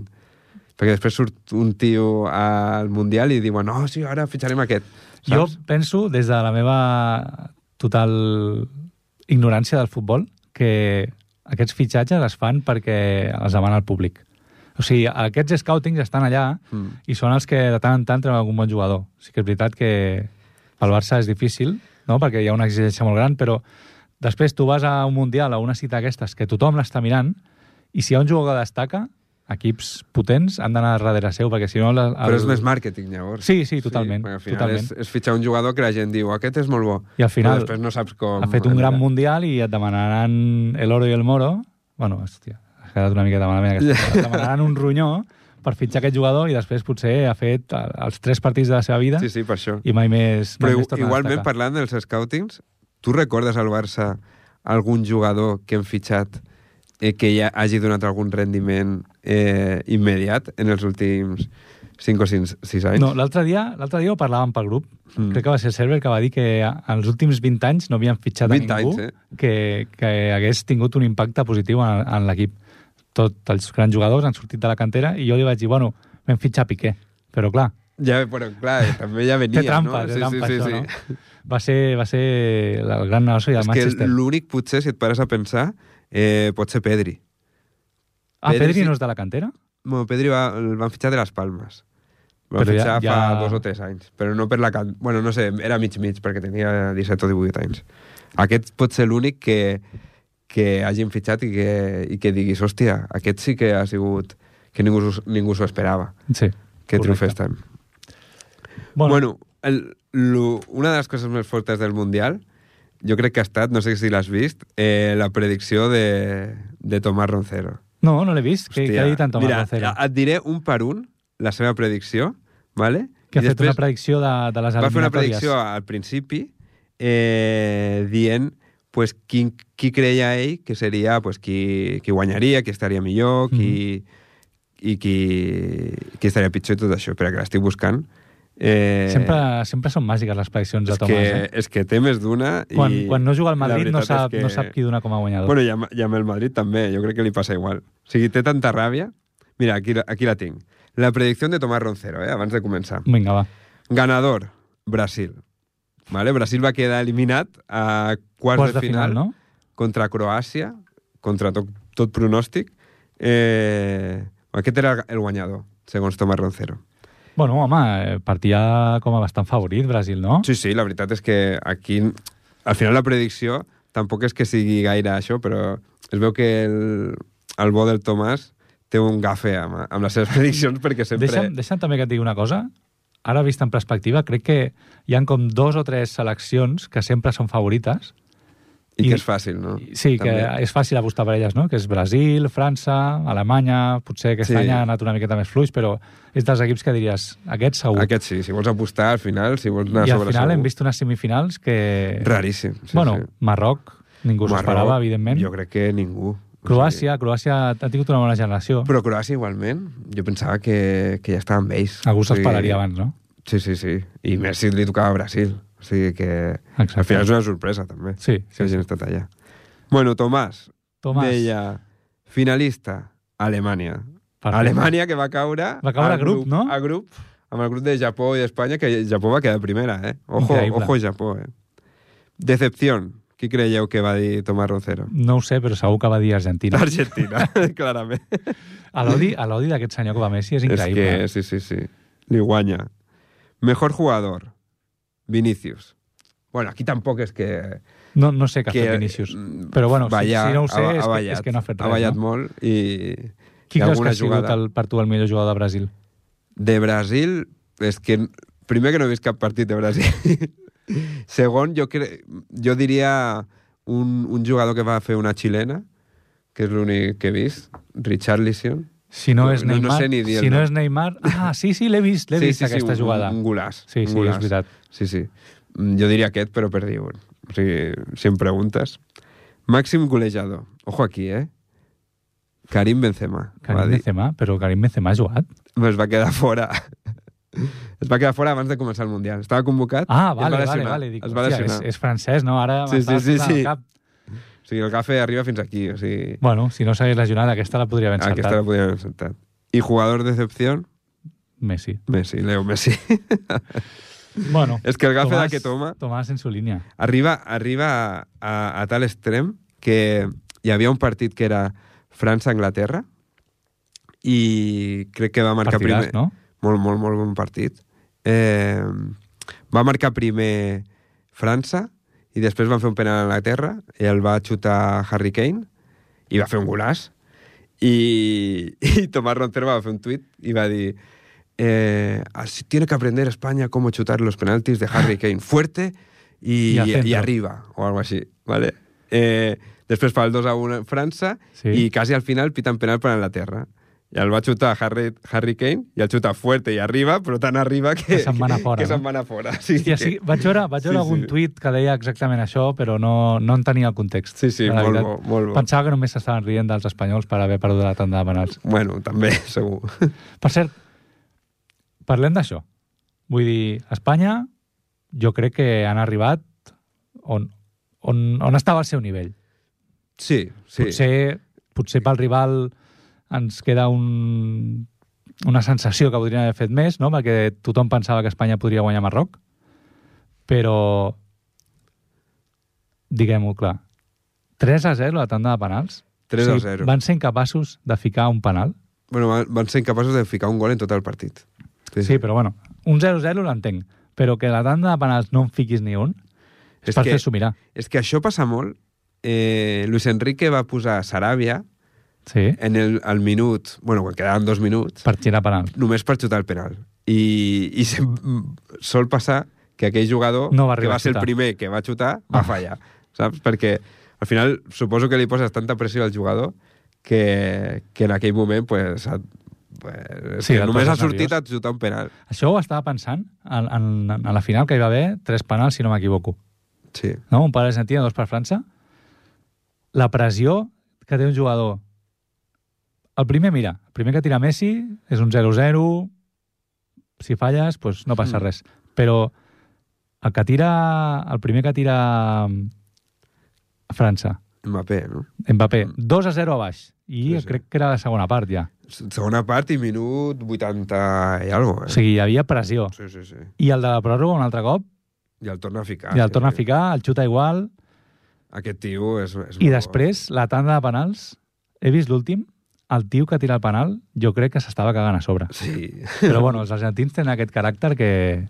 A: Perquè després surt un tio al Mundial i diuen no, sí, ara fitxarem aquest.
B: Jo
A: Saps?
B: penso, des de la meva total ignorància del futbol, que aquests fitxatges es fan perquè els demana el públic. O sigui, aquests scoutings estan allà
A: Mm.
B: i són els que de tant en tant treuen algun bon jugador. O sigui que és veritat que pel Barça és difícil, no? perquè hi ha una exigència molt gran, però després tu vas a un Mundial, a una cita d'aquestes, que tothom l'està mirant, i si hi ha un jugador que destaca, equips potents han d'anar darrere seu, perquè si no... la- El...
A: Però és més màrqueting, llavors.
B: Sí, sí, totalment,
A: perquè al final
B: totalment.
A: És, és fitxar un jugador que la gent diu "Oh, aquest és molt bo.
B: I al
A: Però
B: final
A: després no saps com...
B: ha fet un gran mundial i et demanaran el oro i el moro. Bueno, hòstia, has quedat una miqueta malament. Aquesta. Et demanaran un ronyó per fitxar aquest jugador i després potser ha fet eh, els tres partits de la seva vida
A: Sí, sí, per això.
B: i mai més...
A: Però
B: mai
A: igu-
B: més tornen a
A: igualment,
B: destacar.
A: parlant dels scoutings, tu recordes al Barça algun jugador que hem fitxat eh, que ja hagi donat algun rendiment eh, immediat en els últims 5 o 6, 6 anys.
B: No, l'altre dia, l'altre dia ho parlàvem pel grup.
A: Mm.
B: Mm. Crec que va ser el server que va dir que en els últims 20 anys no havien fitxat a
A: 20
B: ningú
A: anys, eh?
B: que, que hagués tingut un impacte positiu en, en l'equip. Tots els grans jugadors han sortit de la cantera i jo li vaig dir, bueno, vam fitxar Piqué. Però clar,
A: Ja, però clar, eh, també ja venia,
B: té trampa,
A: no?
B: té trampa això, no? Va ser, va ser el gran negoci del
A: És que
B: Manchester.
A: l'únic, potser, si et pares a pensar, eh, pot ser Pedri.
B: Ah,
A: Pedri
B: Pedri
A: sí.
B: no és de la cantera?
A: Bueno, Pedri va, el van fitxar de les Palmes. El van
B: Però ja-
A: fitxar ja,
B: ja-
A: fa dos o tres anys, però no per la... can- Bueno, no sé, era mig-mig, perquè tenia 17 o 18 anys. Aquest pot ser l'únic que, que hagin fitxat i que, i que diguis, hòstia, aquest sí que ha sigut... que ningú, s'ho- ningú s'ho esperava,
B: Sí.
A: que
B: correcte.
A: triomfés tant. Bueno, bueno el, lo, una de les coses més fortes del Mundial, jo crec que ha estat, no sé si l'has vist, eh, la predicció de, de Tomás Roncero.
B: No, no l'he vist. Què, què ha dit en Tomàs
A: mira,
B: Roncero?
A: et diré un per un la seva predicció, vale?
B: Que ha
A: I
B: fet una
A: després
B: predicció de, de
A: va
B: les
A: fer una
B: eliminatòries.
A: predicció al principi eh, dient pues, qui, qui creia ell que seria pues, qui, qui guanyaria, qui estaria millor, qui,
B: Mm-hmm.
A: i qui, qui estaria pitjor i tot això. Espera, que l'estic buscant. Eh,
B: Sempre, sempre són màgiques les prediccions de
A: és
B: Tomàs.
A: que,
B: eh?
A: és que té més d'una... i-
B: Quan, quan no juga al
A: i la
B: Madrid no
A: veritat
B: sap,
A: és
B: que... no sap qui dona com a guanyador.
A: Bueno, i amb, i amb el Madrid també, jo crec que li passa igual. O sigui, té tanta ràbia... Mira, aquí, la- aquí la tinc. La predicció de Tomás Roncero, eh, abans de començar.
B: Vinga, va.
A: Ganador, Brasil. Vale? Brasil va quedar eliminat a quarts,
B: Quarts de final, no?
A: contra Croàcia, contra tot, tot pronòstic. Eh, aquest era el, el guanyador, segons Tomás Roncero.
B: Bueno, home, eh, partia com a bastant favorit, Brasil, no?
A: Sí, sí, la veritat és que aquí, al final la predicció tampoc és que sigui gaire això, però es veu que el, el bo del Tomàs té un gafe amb, amb les seves [LAUGHS] prediccions perquè sempre...
B: Deixa'm, deixa'm també que et digui una cosa. Ara, vist en perspectiva, crec que hi han com dos o tres seleccions que sempre són favorites.
A: I,
B: i-
A: que és fàcil, no?
B: Sí, que és fàcil apostar per elles, no? Que és Brasil, França, Alemanya... Potser aquest
A: Sí.
B: any ha anat una miqueta més fluix, però és dels equips que diries, aquest segur.
A: Aquest sí, si vols apostar al final, si vols anar
B: I al
A: sobre
B: final
A: segur.
B: hem vist unes semifinals que...
A: Raríssim. Sí,
B: bueno,
A: sí.
B: Marroc, ningú s'ho
A: Marroc,
B: esperava, evidentment.
A: Jo crec que ningú. O
B: Croàcia, Croàcia ha tingut una bona generació.
A: sigui, però Croàcia igualment, jo pensava que, que ja estava amb ells.
B: Algú
A: O sigui,
B: s'esperaria abans, no?
A: Sí, sí, sí. I més si li tocava a Brasil. O sigui que
B: Exacte.
A: al final és una sorpresa, també,
B: Sí,
A: que
B: sí.
A: hagin estat allà. Bueno, Tomàs,
B: Tomàs,
A: deia finalista, Alemanya.
B: Perfecte.
A: Alemanya que va caure...
B: Va caure a grup, no?
A: A grup, amb el grup de Japó i d'Espanya, que Japó va quedar primera, eh? Ojo,
B: Increïble.
A: ojo Japó, eh? Decepción. Qui creieu que va dir Tomàs Roncero?
B: no ho sé, però segur que va dir
A: [LAUGHS]
B: Argentina.
A: Argentina, clarament.
B: A l'odi a l'odi d'aquest senyor que va a Messi és [LAUGHS] increïble. eh?
A: Es que, sí, sí, sí. Li guanya. Mejor jugador, Vinicius. Bueno, aquí tampoc és que...
B: No, no sé què ha
A: que,
B: fet Vinícius.
A: mm,
B: Però bueno, si-
A: ballar,
B: si no ho sé,
A: ha- ha
B: és que-
A: ballat,
B: és que no ha fet res,
A: Ha ballat
B: no?
A: molt i... i
B: Qui creus que
A: alguna
B: ha sigut
A: jugada.
B: el, per tu el millor jugador de Brasil?
A: De Brasil, és que... Primer que no he vist cap partit de Brasil. [LAUGHS] Segon, jo, cre... jo diria un, un jugador que va fer una xilena, que és l'únic que he vist, Richarlison.
B: Si no, és
A: No- no
B: Neymar...
A: sé ni dir el
B: si no
A: nom.
B: és Neymar... Ah, sí, sí, l'he vist, l'he vist aquesta
A: un,
B: jugada.
A: Un golaç.
B: Sí,
A: un
B: sí,
A: golaç.
B: és veritat.
A: Sí, sí. Mm, Jo diria aquest, però per dir un. O sigui, si em preguntes. Màxim golejador. Ojo aquí, eh? Karim Benzema. va
B: Karim
A: dir.
B: Benzema, però Karim Benzema ha jugat?
A: Es va quedar fora. Es va quedar fora abans de començar el Mundial. Estava convocat i es
B: Ah,
A: va
B: vale, vale,
A: lesionar.
B: vale. Dic,
A: es va
B: hòstia,
A: lesionar.
B: és, és francès, no? Ara
A: Sí,
B: m'estava
A: sí, sí,
B: saltant el
A: sí.
B: cap.
A: O sigui, el cafè arriba fins aquí. O sigui,
B: Bueno, si no s'hagués lesionat, aquesta la podria haver encertat.
A: aquesta la podíem haver saltat. I jugador decepció,
B: Messi.
A: Messi, Leo Messi. [LAUGHS]
B: Bueno,
A: és que el gafe
B: Tomàs-
A: de que toma...
B: Tomàs en su línia.
A: arriba, arriba a, a tal extrem que hi havia un partit que era França-Anglaterra i crec que va marcar
B: Partidàs,
A: primer...
B: no?
A: Molt, molt, molt bon partit. Eh, va marcar primer França i després van fer un penal a Anglaterra i el va xutar Harry Kane i va fer un golaç. I, [LAUGHS] i Tomás Roncero va fer un tuit i va dir eh, "Así tiene que aprender España cómo chutar los penaltis de Harry Kane fuerte y,
B: Y al
A: y,
B: centro.
A: arriba o algo así, ¿vale? Eh, després fa el 2 a 1 en França sí.
B: Sí.
A: i quasi al final piten penal per Anglaterra. I el va xutar Harry, Harry Kane, i el xuta fuerte i arriba, però tan arriba que...
B: Que se'n va anar fora,
A: Que
B: no?
A: se'n va anar fora. [LAUGHS] Sí,
B: Hòstia, sí, vaig veure, vaig
A: Sí,
B: veure sí, algun
A: sí.
B: sí. tuit que deia exactament això, però no, no en tenia el context.
A: Sí, sí,
B: La
A: molt
B: veritat,
A: bo, molt bo.
B: Pensava que només s'estaven rient dels espanyols per haver perdut la tanda de penals.
A: Bueno, també, [LAUGHS] segur.
B: Per cert, parlem d'això. Vull dir, Espanya, jo crec que han arribat on, on, on estava el seu nivell.
A: Sí, sí.
B: Potser, potser pel rival ens queda un, una sensació que podrien haver fet més, no? perquè tothom pensava que Espanya podria guanyar Marroc, però diguem-ho clar, 3 a 0 la tanda de penals?
A: 3 a
B: O sigui,
A: 0.
B: Van ser incapaços de ficar un penal?
A: Bueno, van, van ser incapaços de ficar un gol en tot el partit.
B: Sí, però bueno, un 0-0 l'entenc, però que la tanda de penals no en fiquis ni un és,
A: És
B: per
A: que-
B: fer-s'ho mirar.
A: És que això passa molt. Eh, Luis Enrique va posar Saràbia
B: Sí,
A: en el, al minut... Bueno, quan quedaven dos minuts,
B: per tirar penal.
A: només per xutar el penal. I, i se, mm, sol passar que aquell jugador
B: No va
A: que
B: arribar
A: va
B: a
A: ser el
B: xutar.
A: primer que va xutar va
B: Ah.
A: fallar, saps? Perquè al final suposo que li poses tanta pressió al jugador que, que en aquell moment pues, et, pues,
B: Sí,
A: que
B: et
A: només ha
B: poses
A: sortit
B: nerviós.
A: a xutar un penal.
B: Això ho estava pensant en, en, en la final, que hi va haver tres penals, si no m'equivoco.
A: Sí,
B: No? Un per Argentina, dos per França. La pressió que té un jugador. El primer, mira, el primer que tira Messi és un 0-0, si falles, doncs no passa
A: Mm.
B: res. Però el que tira... El primer que tira mm, França,
A: Mbappé, no?
B: Mbappé, 2 a 0 a baix.
A: Mm. Sí,
B: I sí,
A: sí.
B: sí. crec que era la segona part, ja.
A: Segona part i minut 80 i algo, eh?
B: O sigui, hi havia pressió.
A: Sí, sí, sí.
B: I el de la pròrroga, un altre cop,
A: I el torna a ficar.
B: i el
A: Ah, sí,
B: torna a
A: sí.
B: ficar, el xuta igual,
A: Aquest tio és... és molt
B: I
A: bo.
B: després, la tanda de penals, he vist l'últim, el tio que tira el penal, jo crec que s'estava cagant
A: [LAUGHS]
B: a sobre.
A: Sí.
B: Però bueno, els argentins tenen aquest caràcter que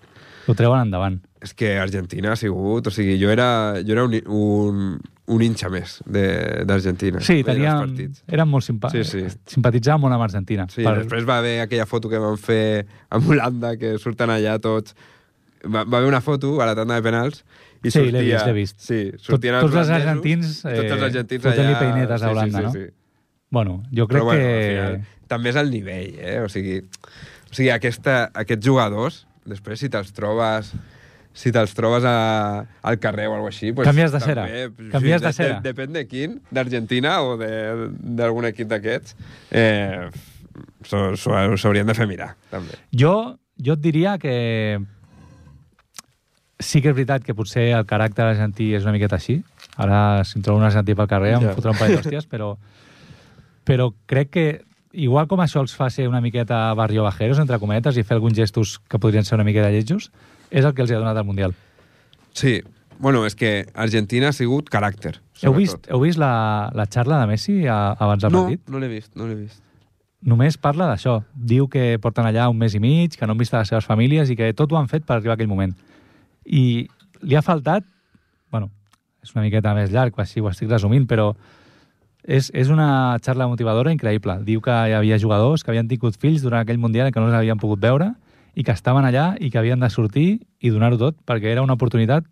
B: ho treuen endavant.
A: És que Argentina ha sigut... O sigui, jo era, jo era un, un, un hinxa més de- d'Argentina.
B: Sí,
A: veient els
B: teníem,
A: partits.
B: eren molt simpa
A: Sí,
B: sí,
A: sí.
B: sí. simpatitzàvem molt amb Argentina.
A: Sí, per... després va haver aquella foto que van fer amb Holanda, que surten allà tots... Va, va haver una foto a la tanda de penals i
B: Sí,
A: sortia...
B: l'he vist, l'he vist.
A: Sí,
B: Tot,
A: sortien
B: tots els
A: holandesos,
B: argentins, eh,
A: tots els argentins
B: fotent-li
A: allà...
B: peinetes a Holanda,
A: sí, sí,
B: no?
A: Sí, sí.
B: Bueno, jo crec
A: Però bueno,
B: que...
A: al final, també és el nivell, eh? O sigui, o sigui aquesta, aquests jugadors, després si te'ls trobes si te'ls trobes a, al carrer o alguna així... Pues,
B: Canvies de cera.
A: pues,
B: Canvies de
A: de-
B: cera.
A: De, depèn de quin, d'Argentina o de- d'algun equip d'aquests, eh, s'ho s'ho- s'haurien de fer mirar, també.
B: Jo, jo et diria que sí que és veritat que potser el caràcter argentí és una miqueta així. Ara, si em trobo un argentí pel carrer, em
A: Ja.
B: fotrà un
A: [LAUGHS]
B: parell d'hòsties, però, però crec que igual com això els fa ser una miqueta barrio bajeros, entre cometes, i fer alguns gestos que podrien ser una miqueta lletjos, és el que els hi ha donat al Mundial.
A: Sí, bueno, és que Argentina ha sigut caràcter,
B: Heu
A: sobretot.
B: vist, heu vist la, la xarla de Messi a, abans del
A: No,
B: partit?
A: no l'he vist, no l'he vist.
B: Només parla d'això. Diu que porten allà un mes i mig, que no han vist a les seves famílies i que tot ho han fet per arribar a aquell moment. I li ha faltat... bueno, és una miqueta més llarg, així ho estic resumint, però és, és una xarla motivadora increïble. Diu que hi havia jugadors que havien tingut fills durant aquell Mundial que no els havien pogut veure i que estaven allà i que havien de sortir i donar-ho tot perquè era una oportunitat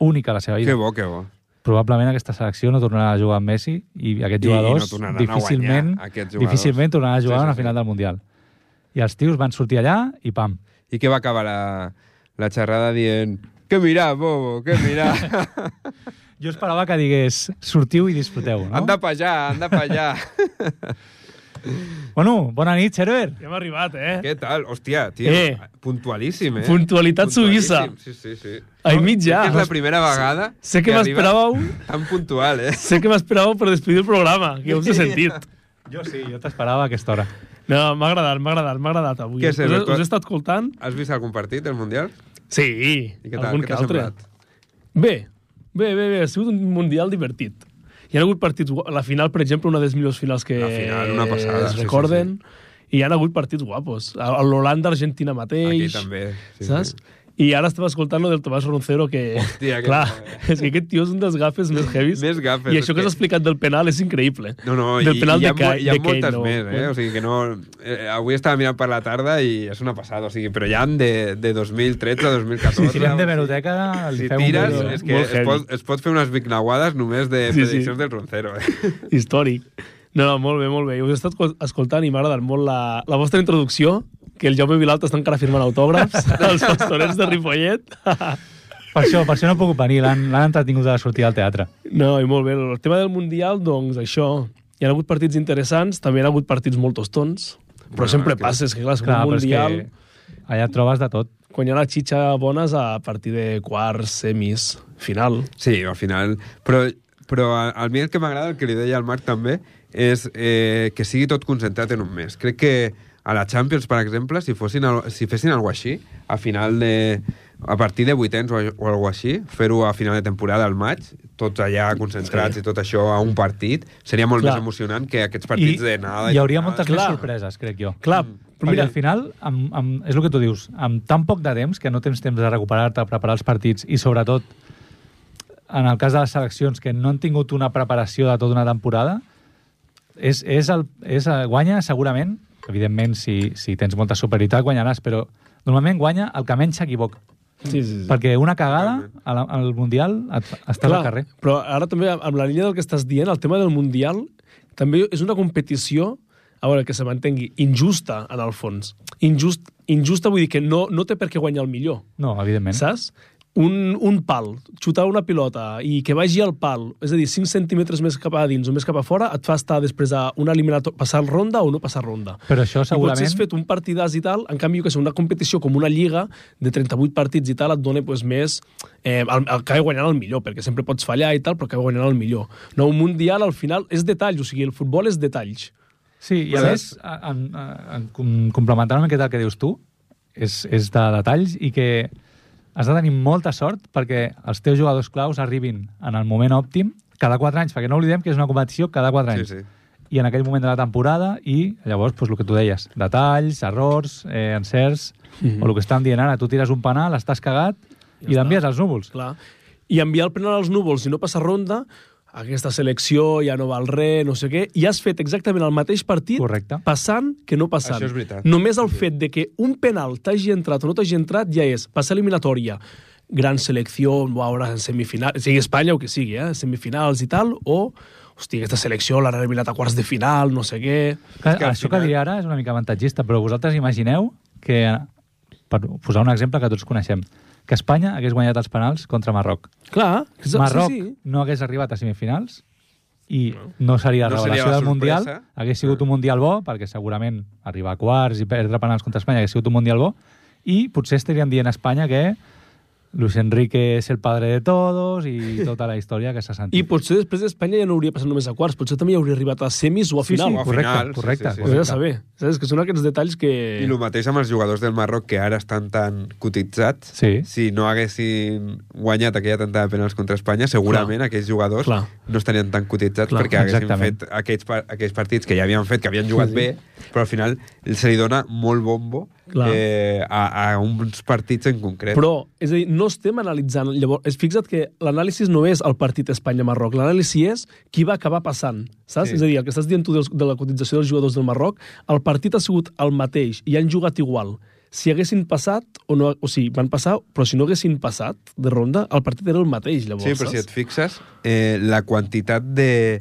B: única a la seva vida
A: Que bo, que bo.
B: probablement aquesta selecció no tornarà a jugar amb Messi i aquests
A: I
B: jugadors
A: no tornaran a
B: difícilment,
A: guanyar, aquests jugadors.
B: difícilment tornaran a
A: Sí,
B: jugar
A: sí,
B: a una
A: sí.
B: final del Mundial. I els tios van sortir allà i pam.
A: I què va acabar la, la xerrada dient... Que mirar, bobo, que
B: [LAUGHS]
A: mirar.
B: Jo esperava que digués sortiu i disfruteu, no?
A: Anda pa allà, anda pa allà.
B: Bueno, bona nit, Cerver.
F: Ja hem arribat, eh?
A: [LAUGHS] Què tal? Hòstia, tio,
F: Eh.
A: puntualíssim, eh?
F: Puntualitat suïssa.
A: Puntualíssim, Sí, sí, sí.
F: Ai,
A: Ja,
F: mitjà.
A: és la primera vegada
F: Sé que
A: arribes
F: m'esperàveu...
A: tan puntual, eh?
F: Sé que m'esperàveu per despedir el programa, que us he sentit.
B: Jo sí, jo t'esperava a aquesta hora.
F: No, m'ha agradat, m'ha agradat, m'ha agradat avui.
A: Què
F: us,
A: sé,
F: us,
A: doctor?
F: he estat escoltant?
A: Has vist algun partit del Mundial?
F: Sí,
A: I què tal?
F: algun
A: Què
F: que
A: t'ha
F: altre.
A: semblat?
F: Bé, bé, bé, bé, ha sigut un mundial divertit. Hi ha hagut partits... gu- La final, per exemple, una de les millors finals que
A: La final, una passada, sí,
F: es
A: sí,
F: recorden. I hi ha hagut partits guapos. A a l'Holanda, Argentina
A: Aquí
F: mateix.
A: també. Sí,
F: saps?
A: Sí.
F: I ara estava escoltant lo del Tomàs Roncero, que... [LAUGHS]
A: Hòstia, que-
F: clar, és que aquest tio és un dels gafes més heavies.
A: Més gafes,
F: I
A: és
F: això que
A: que-
F: has explicat del penal és increïble.
A: No, no, i,
F: del
A: i
F: penal
A: hi ha,
F: de
A: mo-
F: Ca-
A: hi ha
F: de Kane,
A: moltes
F: no.
A: més, eh? O sigui que no... Eh, avui estava mirant per la tarda i és una passada, o sigui, però ja han de, de 2013 a 2014.
B: Si tirem
A: o
B: de
A: sigui,
B: meroteca, li
A: Si
B: fem
A: tires,
B: un...
A: és que
F: Molt
A: es
F: heavy.
A: pot, es pot fer unes bignauades només de
F: Sí, sí.
A: prediccions del Roncero, eh?
F: [LAUGHS] Històric. No, no, molt bé, molt bé. I us he estat escoltant i m'ha agradat molt la, la vostra introducció, que el Jaume Vilalta està encara firmant
A: [LAUGHS]
F: autògrafs dels pastorets de Ripollet. [LAUGHS]
B: Per això, per això no he pogut venir, l'han l'han entretingut a sortir al teatre.
F: No, i molt bé. El tema del Mundial, doncs, això. Hi ha hagut partits interessants, també hi ha hagut partits molt tostons, però
A: Bueno,
F: sempre
A: que-
F: passa, és que clar, és que
B: Clar,
F: un
B: però és que
F: Mundial...
B: allà et trobes de tot.
F: Quan hi ha la xitxa bona és a partir de quarts, semis, final.
A: Sí, al final... Però, però a, a mi el que m'agrada, el que li deia al Marc també, és eh, que sigui tot concentrat en un mes. Crec que a la Champions, per exemple, si, fossin, al- si fessin alguna així, a final de... a partir de vuitens o, o alguna així, fer-ho a final de temporada, al maig, tots allà concentrats sí. i tot això a un partit, seria molt
F: Clar.
A: Clar. més emocionant que aquests partits
B: I
A: de nada... Mm.
B: hi hauria moltes
A: jornades.
B: més
F: Clar.
B: sorpreses, crec jo.
F: Clar, però
B: Perquè
F: mira,
B: al final, amb, amb, és el que tu dius, amb tan poc de temps, que no tens temps de recuperar-te, preparar els partits, i sobretot, en el cas de les seleccions, que no han tingut una preparació de tota una temporada, és, és el, és el, guanya segurament, evidentment, si, si tens molta superioritat guanyaràs, però normalment guanya el que menys s'equivoca.
F: sí, sí, sí.
B: Perquè una cagada al, al Mundial et, estàs
F: Clar,
B: al carrer.
F: Però ara també, amb la línia del que estàs dient, el tema del Mundial també és una competició a veure, que se mantengui injusta, en el fons. Injust, injusta vull dir que no, no té per què guanyar el millor,
B: No, evidentment.
F: saps? Un, un pal, xutar una pilota i que vagi al pal, és a dir, 5 centímetres més cap a dins o més cap a fora, et fa estar després a una eliminatòria, passar ronda o no passar ronda.
B: Però això
F: I
B: segurament...
F: potser has fet un partidàs i tal, en canvi, jo que sé, una competició com una lliga de 38 partits i tal et dona pues, més... Eh, el, el que guanyant el millor, perquè sempre pots fallar i tal, però que guanyant el millor. No, un mundial al final és detall, o sigui, el futbol és detalls.
B: Sí, i a més,
A: Saps?
B: en, en, en complementant una miqueta el que dius tu, és, és de detalls i que has de tenir molta sort perquè els teus jugadors claus arribin en el moment òptim cada 4 anys, perquè no oblidem que és una competició cada 4
A: Sí,
B: anys.
A: sí.
B: I en aquell moment de la temporada i llavors, doncs, el que tu deies, detalls, errors, eh, encerts, mm -hmm. o el que estan dient ara, tu tires un penal, estàs cagat ja i
F: està.
B: l'envies als núvols.
F: Clar. I enviar el penal als núvols i no passar ronda, aquesta selecció ja no val res, no sé què, i has fet exactament el mateix partit
B: Correcte.
F: passant que no passant.
A: Això és veritat.
F: Només el fet de que un penal t'hagi entrat o no t'hagi entrat ja és passar eliminatòria, gran selecció, ara en semifinal, sigui Espanya o que sigui, eh? semifinals i tal, o hòstia, aquesta selecció l'han eliminat a quarts de final, no sé què...
B: Clar,
A: que al
B: això que
A: final-
B: diré ara és una mica avantatgista, però vosaltres imagineu que, per posar un exemple que tots coneixem, que Espanya hagués guanyat els penals contra Marroc.
F: Clar,
B: Marroc
F: sí, sí.
B: no hagués arribat a semifinals i no seria la
A: No seria
B: revelació
A: la
B: del Mundial,
A: sorpresa. Mm.
B: hagués sigut un Mundial bo, perquè segurament arribar a quarts i perdre penals contra Espanya hagués sigut un Mundial bo, i potser estaríem dient a Espanya que Luis Enrique és el padre de todos
A: [LAUGHS]
B: i tota la història que s'ha sentit.
F: I potser després d'Espanya ja no hauria passat només a quarts, potser també ja hauria arribat a semis o a
B: sí, sí,
F: final.
A: o a
B: correcte,
A: final, sí,
B: correcte,
A: sí, sí.
B: correcte.
F: Vés a saber. Saps? Que són aquests detalls que...
A: I el mateix amb els jugadors del Marroc que ara estan tan cotitzats.
B: Sí.
A: Si no haguessin guanyat aquella tentada de penals contra Espanya, segurament
F: Clar.
A: aquells jugadors
F: Clar.
A: no estarien tan cotitzats
F: Clar,
A: perquè haguessin
B: exactament.
A: fet aquells, pa- aquells partits que ja havien fet, que havien jugat
F: Sí, sí.
A: bé, però al final se li dona molt bombo
F: Clar.
A: eh, a, a uns partits en concret.
F: Però, és a dir, no estem analitzant... Llavors, és fixa't que l'anàlisi no és el partit Espanya-Marroc, l'anàlisi és qui va acabar passant, saps?
A: Sí.
F: Sí. És a dir, el que estàs dient tu dels- de la cotització dels jugadors del Marroc, el partit ha sigut el mateix i han jugat igual. Si haguessin passat, o no... O sigui, van passar, però si no haguessin passat de ronda, el partit era el mateix, llavors,
A: Sí, però si
F: saps?
A: et fixes, eh, la quantitat de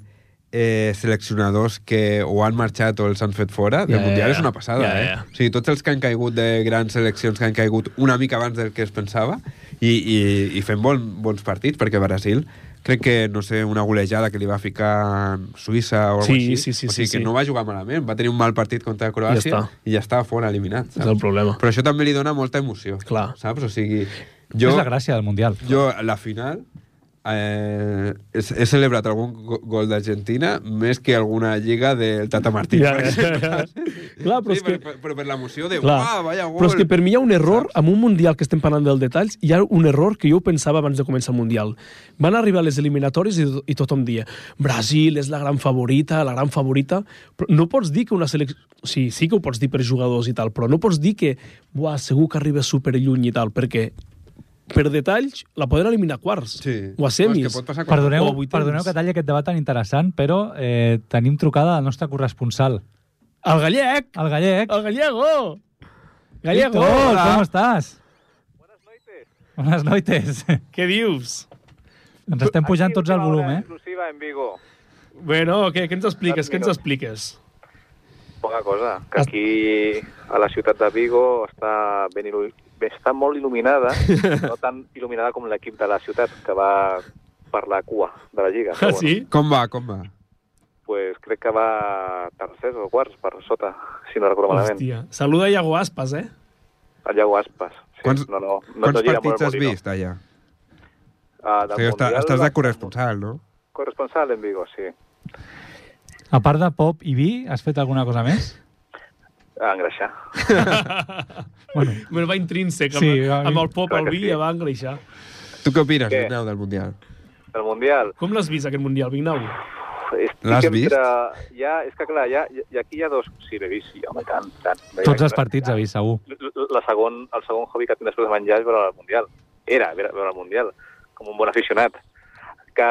A: eh, seleccionadors que o han marxat o els han fet fora del
F: Ja, ja,
A: Mundial
F: ja.
A: és una passada,
F: Ja, ja,
A: eh?
F: ja.
A: O sigui, tots els que han caigut de grans seleccions que han caigut una mica abans del que es pensava i, i, i fent bon, bons partits, perquè Brasil crec que, no sé, una golejada que li va ficar Suïssa o alguna
F: Sí,
A: així.
F: sí, sí,
A: o sigui,
F: sí,
A: que
F: sí.
A: no va jugar malament, va tenir un mal partit contra Croàcia
F: Ja està.
A: i ja estava fora eliminat.
F: És el problema.
A: Però això també li dona molta emoció,
F: Clar.
A: saps? O sigui,
B: Jo...
A: jo...
B: És la gràcia del Mundial.
A: Jo, a la final, eh, he, he celebrat algun go- gol d'Argentina més que alguna lliga del Tata Martí.
F: Ja,
A: per
F: ja,
A: exemple,
F: ja.
A: saps?
F: Clar,
A: [LAUGHS]
F: però
A: sí,
F: és que-
A: Per, però per l'emoció de,
F: Clar.
A: uah, vaya gol.
F: Però és que per mi hi ha un error, amb un Mundial que estem parlant dels detalls, hi ha un error que jo ho pensava abans de començar el Mundial. Van arribar les eliminatòries i, i tothom dia Brasil és la gran favorita, la gran favorita, però no pots dir que una selecció... O sigui, sí que ho pots dir per jugadors i tal, però no pots dir que buah, segur que arriba superlluny i tal, perquè per detalls la poden eliminar a quarts
A: Sí.
F: o a semis.
A: No, és que pot passar quan...
B: Perdoneu,
F: O vuitens.
B: perdoneu que talli aquest debat tan interessant, però eh, tenim trucada al nostre corresponsal,
F: El gallec!
B: el gallec.
F: El gallego! Gallego!
B: Víctor, com estàs? Buenas [LAUGHS] noites. Buenas noites.
F: Què dius?
B: Ens estem pujant tots al volum, eh?
G: exclusiva en Vigo.
F: Bueno, què, què ens expliques? Què ens expliques?
G: Poca cosa, que aquí a la ciutat de Vigo està, ben il·lu... bé, està molt il·luminada,
A: [LAUGHS]
G: no tan il·luminada com l'equip de la ciutat que va per la cua de la Lliga.
F: Ah, sí?
A: Com va, com va?
G: pues crec que va tercers o quarts per sota, si no recordo malament.
F: Hòstia. Saluda Iago Aspas, eh?
G: El Iago Aspas. Sí,
A: Quants-
G: no, no, no
A: Quants
G: t'ho gira molt
A: partits
G: el
A: has
G: Molino.
A: vist allà?
G: Ah,
A: O
G: del
A: sigui, està,
G: Mundial
A: estàs de
G: va-
A: corresponsal, no?
G: Corresponsal en Vigo, sí.
B: A part de pop i vi, has fet alguna cosa més?
G: A engreixar.
B: Bueno,
F: Bueno, va intrínsec, amb,
B: Sí,
F: sí,
B: va-
F: amb el pop,
G: Clar
F: el
G: que
F: vi,
G: sí.
F: ja va engreixar.
A: Tu què opines,
G: Què?
A: Vignau, del Mundial?
G: El Mundial.
F: Com l'has vist, aquest Mundial, Vignau?
G: Estic
A: L'has
G: entre-
A: vist?
G: Ja, és que clar, ja, ja, aquí hi ha dos... Sí, l'he vist, sí, home, tant, tant.
B: tots els partits eh. ha vist, segur.
G: L- l- La segon, el segon hobby que tinc després de menjar és veure el Mundial. Era veure, veure el Mundial, com un bon aficionat. Que,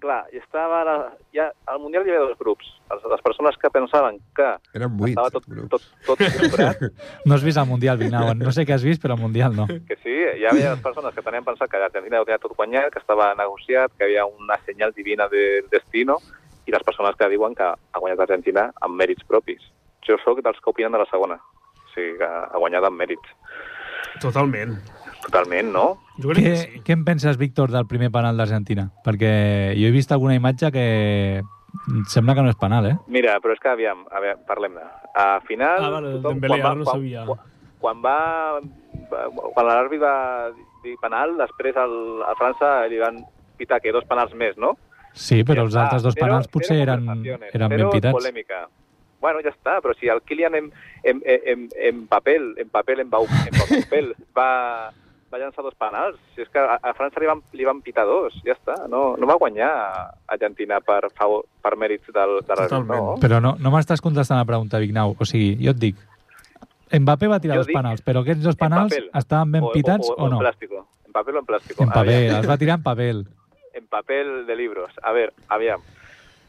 G: clar, ja estava... La, ja, al Mundial hi havia dos grups. Els, les persones que pensaven que
A: Eren
G: estava
A: vuit.
G: tot,
A: grups.
G: tot, tot comprat,
B: No has vist el Mundial, Vinau. No sé què has vist, però el Mundial no.
G: que sí, hi havia les persones que tenien pensat que l'Argentina ho tenia tot guanyat, que estava negociat, que hi havia una senyal divina del destino, i les persones que diuen que ha guanyat l'Argentina amb mèrits propis. Jo sóc dels que opinen de la segona. O sigui, que ha guanyat amb mèrits.
F: Totalment.
G: Totalment, no?
F: Jo crec
B: Què,
F: que sí.
B: què en penses, Víctor, del primer penal d'Argentina? Perquè jo he vist alguna imatge que em sembla que no és penal, eh?
G: Mira, però és que aviam, a veure, parlem-ne. A final...
F: Ah, vale, Dembélé, ara no sabia.
G: Quan, quan va... Quan l'àrbit va dir penal, després el, a França li van pitar que dos penals més, no?
B: Sí, però els
G: Ja
B: altres
G: està.
B: dos penals
G: Zero-
B: potser
G: zero
B: eren,
G: conversaciones,
B: eren ben
G: zero
B: pitats.
G: polèmica. Bueno, ja està, però si el Kylian en, en, en, en papel, en papel, en, bau, en papel, va, va llançar dos penals. Si és que a, a França li van, li van pitar dos, ja està. No, no va guanyar Argentina per, favor, per mèrits del, de la
F: Totalment.
G: no?
B: Però no, no m'estàs contestant la pregunta, Vignau. O sigui, jo et dic, Mbappé va tirar
G: Jo
B: dos
G: dic,
B: penals, però aquests dos penals
G: papel.
B: estaven ben pitats o,
G: o,
B: no?
G: En Ah, plástico. En papel o en plástico.
B: En paper,
G: Aviam.
B: els va tirar en paper.
G: en papel de libros. A ver, aviam.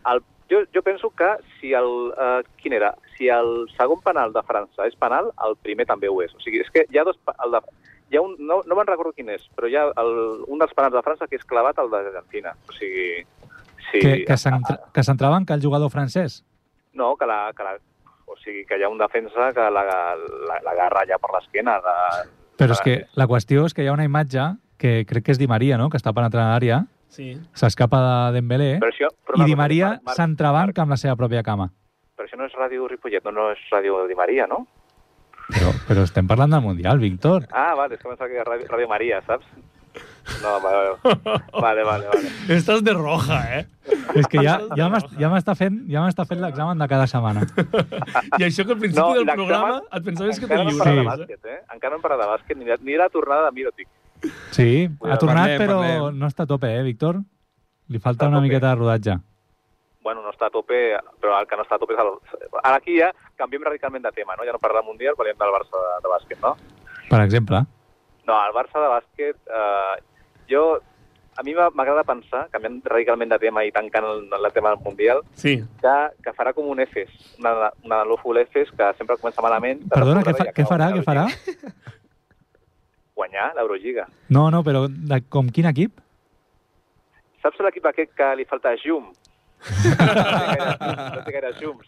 G: El, jo, jo penso que si el... Eh, quin era? Si el segon penal de França és penal, el primer també ho és. O sigui, és que hi ha dos... pa- El de, hi ha un, no, no me'n recordo quin és, però hi ha el, un dels penals de França que és clavat al d'Argentina. O sigui... [LAUGHS] Sí,
B: Que, que s'entra- que s'entrebanca el jugador francès.
G: No, que la, que la, o sigui, que hi ha un defensa que l'agarra la, l'agarra allà per l'esquena. De...
B: Però és que la qüestió és que hi ha una imatge que crec que és Di Maria, no?, que està penetrant a l'àrea,
F: sí.
B: s'escapa de Dembélé,
G: Però això,
B: i
G: però una
B: Di
G: cosa,
B: Maria
G: Marc, Marc,
B: s'entrebanca amb la seva pròpia cama.
G: Però això no és Ràdio Ripollet, no, no és Ràdio Di Maria, no?
B: Però, però estem parlant del Mundial, Víctor.
G: Ah, vale, és que pensava que era Ràdio, Ràdio Maria, saps? No, vale, vale. Vale,
F: [LAUGHS]
G: vale, vale.
F: Estàs de roja, eh?
B: És que ja, ja m'est- ja m'està fent, ja m'està fent l'examen de cada setmana.
F: I això que al principi
G: No,
F: no, del
G: l'examen-
F: programa et pensaves que
G: Encara no
F: tenies
G: hem
F: lliure.
G: parlat de
B: Sí.
G: bàsquet, eh? Encara no hem parlat de bàsquet, ni, de- ni de la tornada de Mirotic.
B: Sí, ha
G: Cuidado,
B: tornat,
A: parlem,
B: però
A: parlem.
B: no està a tope, eh, Víctor? Li falta
G: Està a
B: una
G: tope.
B: miqueta de rodatge.
G: Bueno, no està a tope, però el que no està a tope és el... Ara aquí ja canviem radicalment de tema, no? Ja no parlem del Mundial, parlem del Barça de, de bàsquet, no?
B: Per exemple,
G: No, el Barça de bàsquet... Eh, jo... A mi m'ha- m'agrada pensar, canviant radicalment de tema i tancant el, el tema del Mundial,
F: Sí.
G: que, que farà com un EFES, una, una lúful EFES que sempre comença malament... de
B: perdona,
G: sobte
B: què, fa,
G: veia que
B: què
G: va
B: farà,
G: guanyar
B: què farà?
G: l'Eurolliga. Guanyar l'Eurolliga.
B: No, no, però de, com quin equip?
G: Saps l'equip aquest que li falta Jum? no té gaire Jums.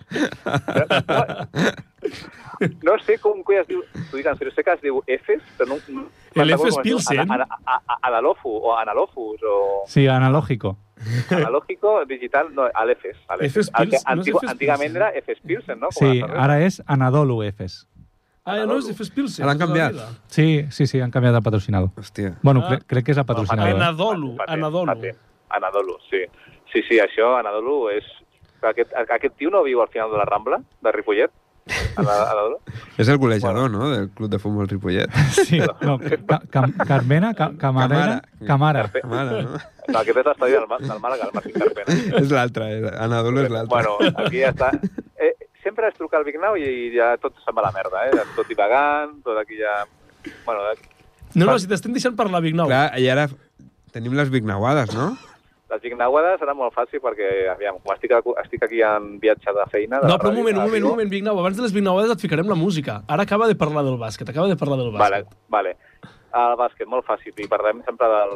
G: No sé com coi es diu... T'ho dic en sèrio, sé que es diu Efes, però no... no-
F: El
G: no sé
F: Efes
G: com es diu.
F: Pilsen?
G: Ana- Ana- a- a- Analofu, o Analofus,
F: [LAUGHS]
G: o
B: Sí, analògico.
G: analógico, digital, no, al Efes. al Efes.
F: Efes Pilsen,
G: El que
F: no és
G: antigu-
F: Efes
G: Antigament
F: Pilsen.
G: era Efes Pilsen, no? Com
B: Sí,
G: a carrer.
B: ara és Anadolu Efes.
F: Ah, ja no és Efes Pilsen.
A: L'han canviat.
B: Sí, sí, sí, han canviat de patrocinador.
A: Hòstia.
B: Bueno,
F: Ah.
B: cre crec que és el patrocinador. eh?
G: [LAUGHS]
F: Anadolu. Anadolu,
G: Paté,
F: Anadolu.
G: paté. Anadolu, sí. Sí, sí, això, Anadolu, és... Aquest, aquest tio no viu al final de la Rambla, de Ripollet? Ana- Anadolu?
A: És el golejador, no?, del Club de Futbol
G: [LAUGHS]
A: Ripollet.
B: Sí, no, ca Cam Carmena, ca Camarena, Camara.
A: Mare, no? [LAUGHS]
G: No, aquest és l'estadi del, Ma- del Màlaga, el Martí Carpena.
A: és l'altre, eh? Anadolu és l'altre.
G: Bueno, aquí ja està. Eh, sempre has trucat al Vignau i, i ja tot se'n va a la merda, eh? Tot divagant, tot aquí ja... Bueno, eh,
F: No, no, si t'estem deixant parlar, Vignau.
A: Clar, i ara tenim les vignauades, no?
G: les vignauades serà molt fàcil perquè, aviam, com estic, acu- estic aquí en viatge de feina... De
F: No,
G: la
F: però un
G: ràdio,
F: moment,
G: de
F: un moment, un
G: Vigo.
F: moment, Vignau. Abans de les Vignauades et ficarem la música. Ara acaba de parlar del bàsquet, acaba de parlar del
G: Vale,
F: bàsquet.
G: vale. Ah, El bàsquet, molt fàcil. I parlem sempre del,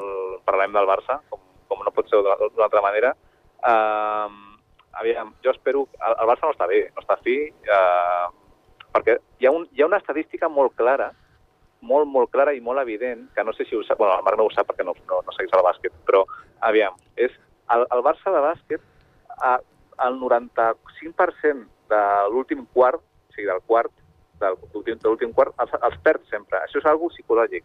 G: parlem del Barça, com, com no pot ser d'una d'una altra manera. Um, aviam, jo espero... El, el Barça no està bé, no està fi, eh, perquè hi ha, un, hi ha una estadística molt clara, molt, molt clara i molt evident, que no sé si ho sap, bueno, el Marc no ho sap perquè no, no, no segueix el bàsquet, però, aviam, és el, el Barça de bàsquet, a, el 95% de l'últim quart, o sigui, del quart, del- de l'últim de l'últim quart, els, els perd sempre. Això és algo psicològic.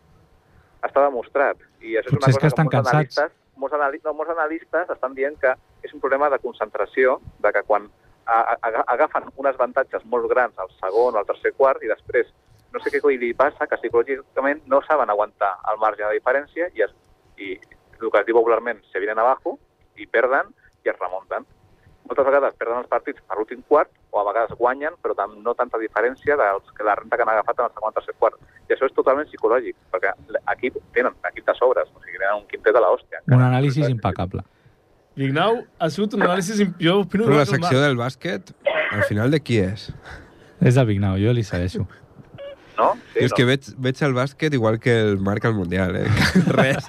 G: Està demostrat. I això
B: Potser és
G: és una
B: que
G: cosa
B: estan
G: molts
B: cansats.
G: analistes, molts, anali no, molts analistes estan dient que és un problema de concentració, de que quan a- a- aga- agafen uns avantatges molt grans al segon o al tercer quart i després no sé què coi li passa, que psicològicament no saben aguantar el marge de diferència i, es, i el que es diu popularment, se vienen abajo i perden i es remunten. Moltes vegades perden els partits per l'últim quart o a vegades guanyen, però tam- no tanta diferència dels que la renta que han agafat en el segon o tercer quart. I això és totalment psicològic, perquè l'equip tenen equip de sobres, o sigui, tenen un quintet de l'hòstia.
B: Un anàlisi impecable.
F: Vignau, ha sigut un anàlisi... im- Jo opino
A: Però la
F: igual que el
A: secció
F: Marc.
A: del bàsquet, al final de qui és?
B: És del Vignau, jo li segueixo.
G: No?
A: Sí, és
G: no?
A: que veig, veig el bàsquet igual que el Marc al Mundial,
F: [LAUGHS]
A: eh? Res.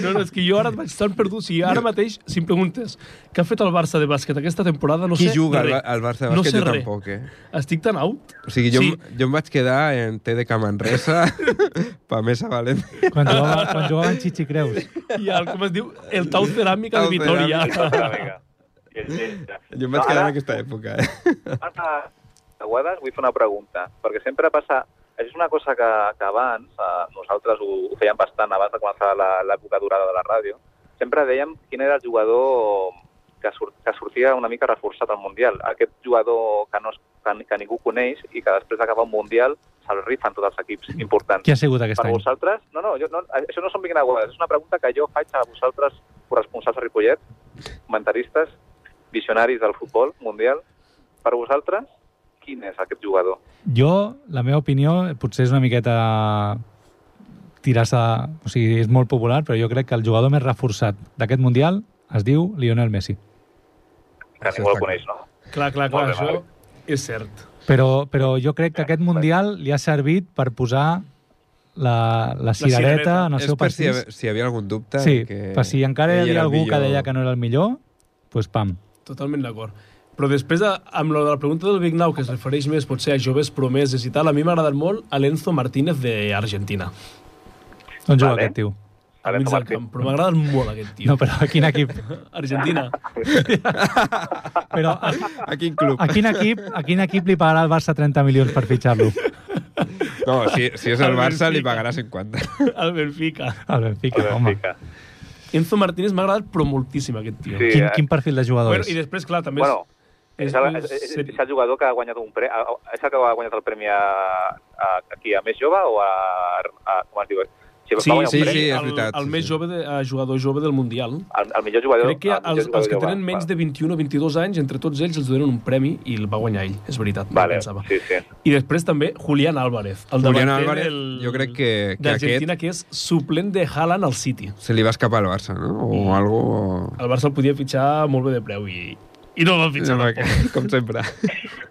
F: No, no, és que jo ara et vaig estar perdut. Si ara mateix, si em preguntes què ha fet el Barça de bàsquet aquesta temporada, no
A: Qui
F: sé
A: juga al,
F: res.
A: Ba- al Barça de
F: No
A: bàsquet?
F: sé
A: jo
F: res.
A: tampoc, eh?
F: Estic tan out.
A: O sigui, jo,
F: Sí.
A: sí. jo em vaig quedar en TDK
F: [LAUGHS]
A: Manresa, Pamesa València...
B: Quan jugava, quan jugava en Chichi Creus.
F: I el, com es diu? El tau ceràmica
A: Tau
F: de Vitoria.
G: Una mica. I el lletge.
A: Jo em vaig
G: No,
A: quedar
G: ara-
A: en aquesta època, eh?
G: Marta Aguadas, eh, vull fer una pregunta, perquè sempre passa... És una cosa que, que abans, eh, nosaltres ho, ho fèiem bastant abans de començar la- l'època durada de la ràdio, sempre dèiem quin era el jugador que, sur, que sortia una mica reforçat al Mundial. Aquest jugador que, no es, que, que ningú coneix i que després d'acabar un Mundial se'l rifen tots els equips importants.
B: Qui ha sigut aquest
G: Per
B: any?
G: vosaltres... No, no, jo, no, això no són vinagades, és una pregunta que jo faig a vosaltres, corresponsals a Ripollet, comentaristes, visionaris del futbol mundial. Per vosaltres, quin és aquest jugador?
B: Jo, la meva opinió, potser és una miqueta tirar-se... O sigui, és molt popular, però jo crec que el jugador més reforçat d'aquest Mundial es diu Lionel Messi.
G: Que
A: Això
G: ningú el
A: està
G: coneix, no?
F: Clar, clar, clar,
G: Molt bé,
F: això és cert.
B: Però, però jo crec que aquest Mundial li ha servit per posar la, la cirereta
F: cirereta.
B: en el
A: és
B: seu
A: per si, hi
B: pastís.
A: havia- si hi havia algun dubte...
B: Sí,
A: que
B: per si encara hi
A: ell
B: havia
A: era el
B: algú que
A: millor.
B: deia que no era el millor, doncs pam.
F: Totalment d'acord. Però després, a- amb lo de la pregunta del Vignau, que es refereix més potser a joves promeses i tal, a mi m'ha agradat molt Alenzo Martínez d'Argentina.
B: On juga
G: Vale.
B: aquest tio?
F: Al mig
G: Alenzo
F: del
G: Martínez.
F: camp. Però m'ha agradat molt aquest tio.
B: No, però a quin equip?
F: Argentina.
B: Però a,
A: A quin club?
B: a, quin equip, a quin equip li pagarà el Barça 30 milions per fitxar-lo?
A: No, si, si és el
F: Al
A: Barça li
F: Benfica.
A: pagarà 50.
F: Al Benfica.
B: El Benfica, home.
G: Fica.
F: Enzo Martínez m'ha agradat però moltíssim aquest tio.
G: Sí,
B: Quin,
G: eh?
B: quin perfil de jugador
F: Bueno, I
B: és?
F: després, clar, també... és-
G: Bueno, és, el, és,
F: és-
G: és, és el jugador que ha guanyat un pre... a- a- És el que ha guanyat el premi a, a, aquí, a més jove o a... a com es diu? Si va guanyar un
A: sí,
G: premi,
A: sí. és
F: el,
A: veritat,
F: el
A: sí,
F: més
A: sí.
F: jove de, eh, jugador jove del Mundial.
G: El, el millor jugador...
F: Crec que
G: el millor
F: els,
G: jugador
F: els que
G: jove.
F: tenen menys de 21 o 22 anys, entre tots ells els donen un premi i el va guanyar ell, és veritat. no
G: Vale,
F: pensava.
G: sí, sí.
F: I després també Julián Álvarez. El
A: Julián
F: davanter
A: Álvarez,
F: del-
A: jo crec que- que
F: D'Argentina, que és suplent de Haaland al City.
A: Se li va escapar al Barça, no? O
F: Mm.
A: algo...
F: El Barça el podia fitxar molt bé de preu i, i no el va fitxar.
A: No,
F: No,
A: que- [LAUGHS] Com sempre.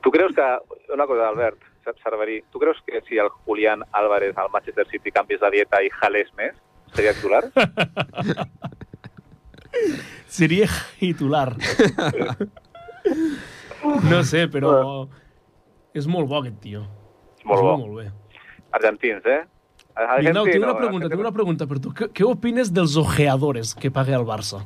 G: Tu creus que... Una cosa, Albert, Cerverí, tu creus que si el Julián Álvarez al Manchester City canvies de dieta i jales més, seria
F: [LAUGHS]
G: titular?
F: Seria
A: [LAUGHS]
F: titular. no sé, però... És molt bo aquest tio.
G: Molt
F: És
G: bo.
F: Molt bé.
G: Argentins, eh?
F: Vignau, tinc una
G: Argentino,
F: pregunta, tinc
G: argentino.
F: una pregunta per tu. Què, què opines dels ojeadores que paga el Barça?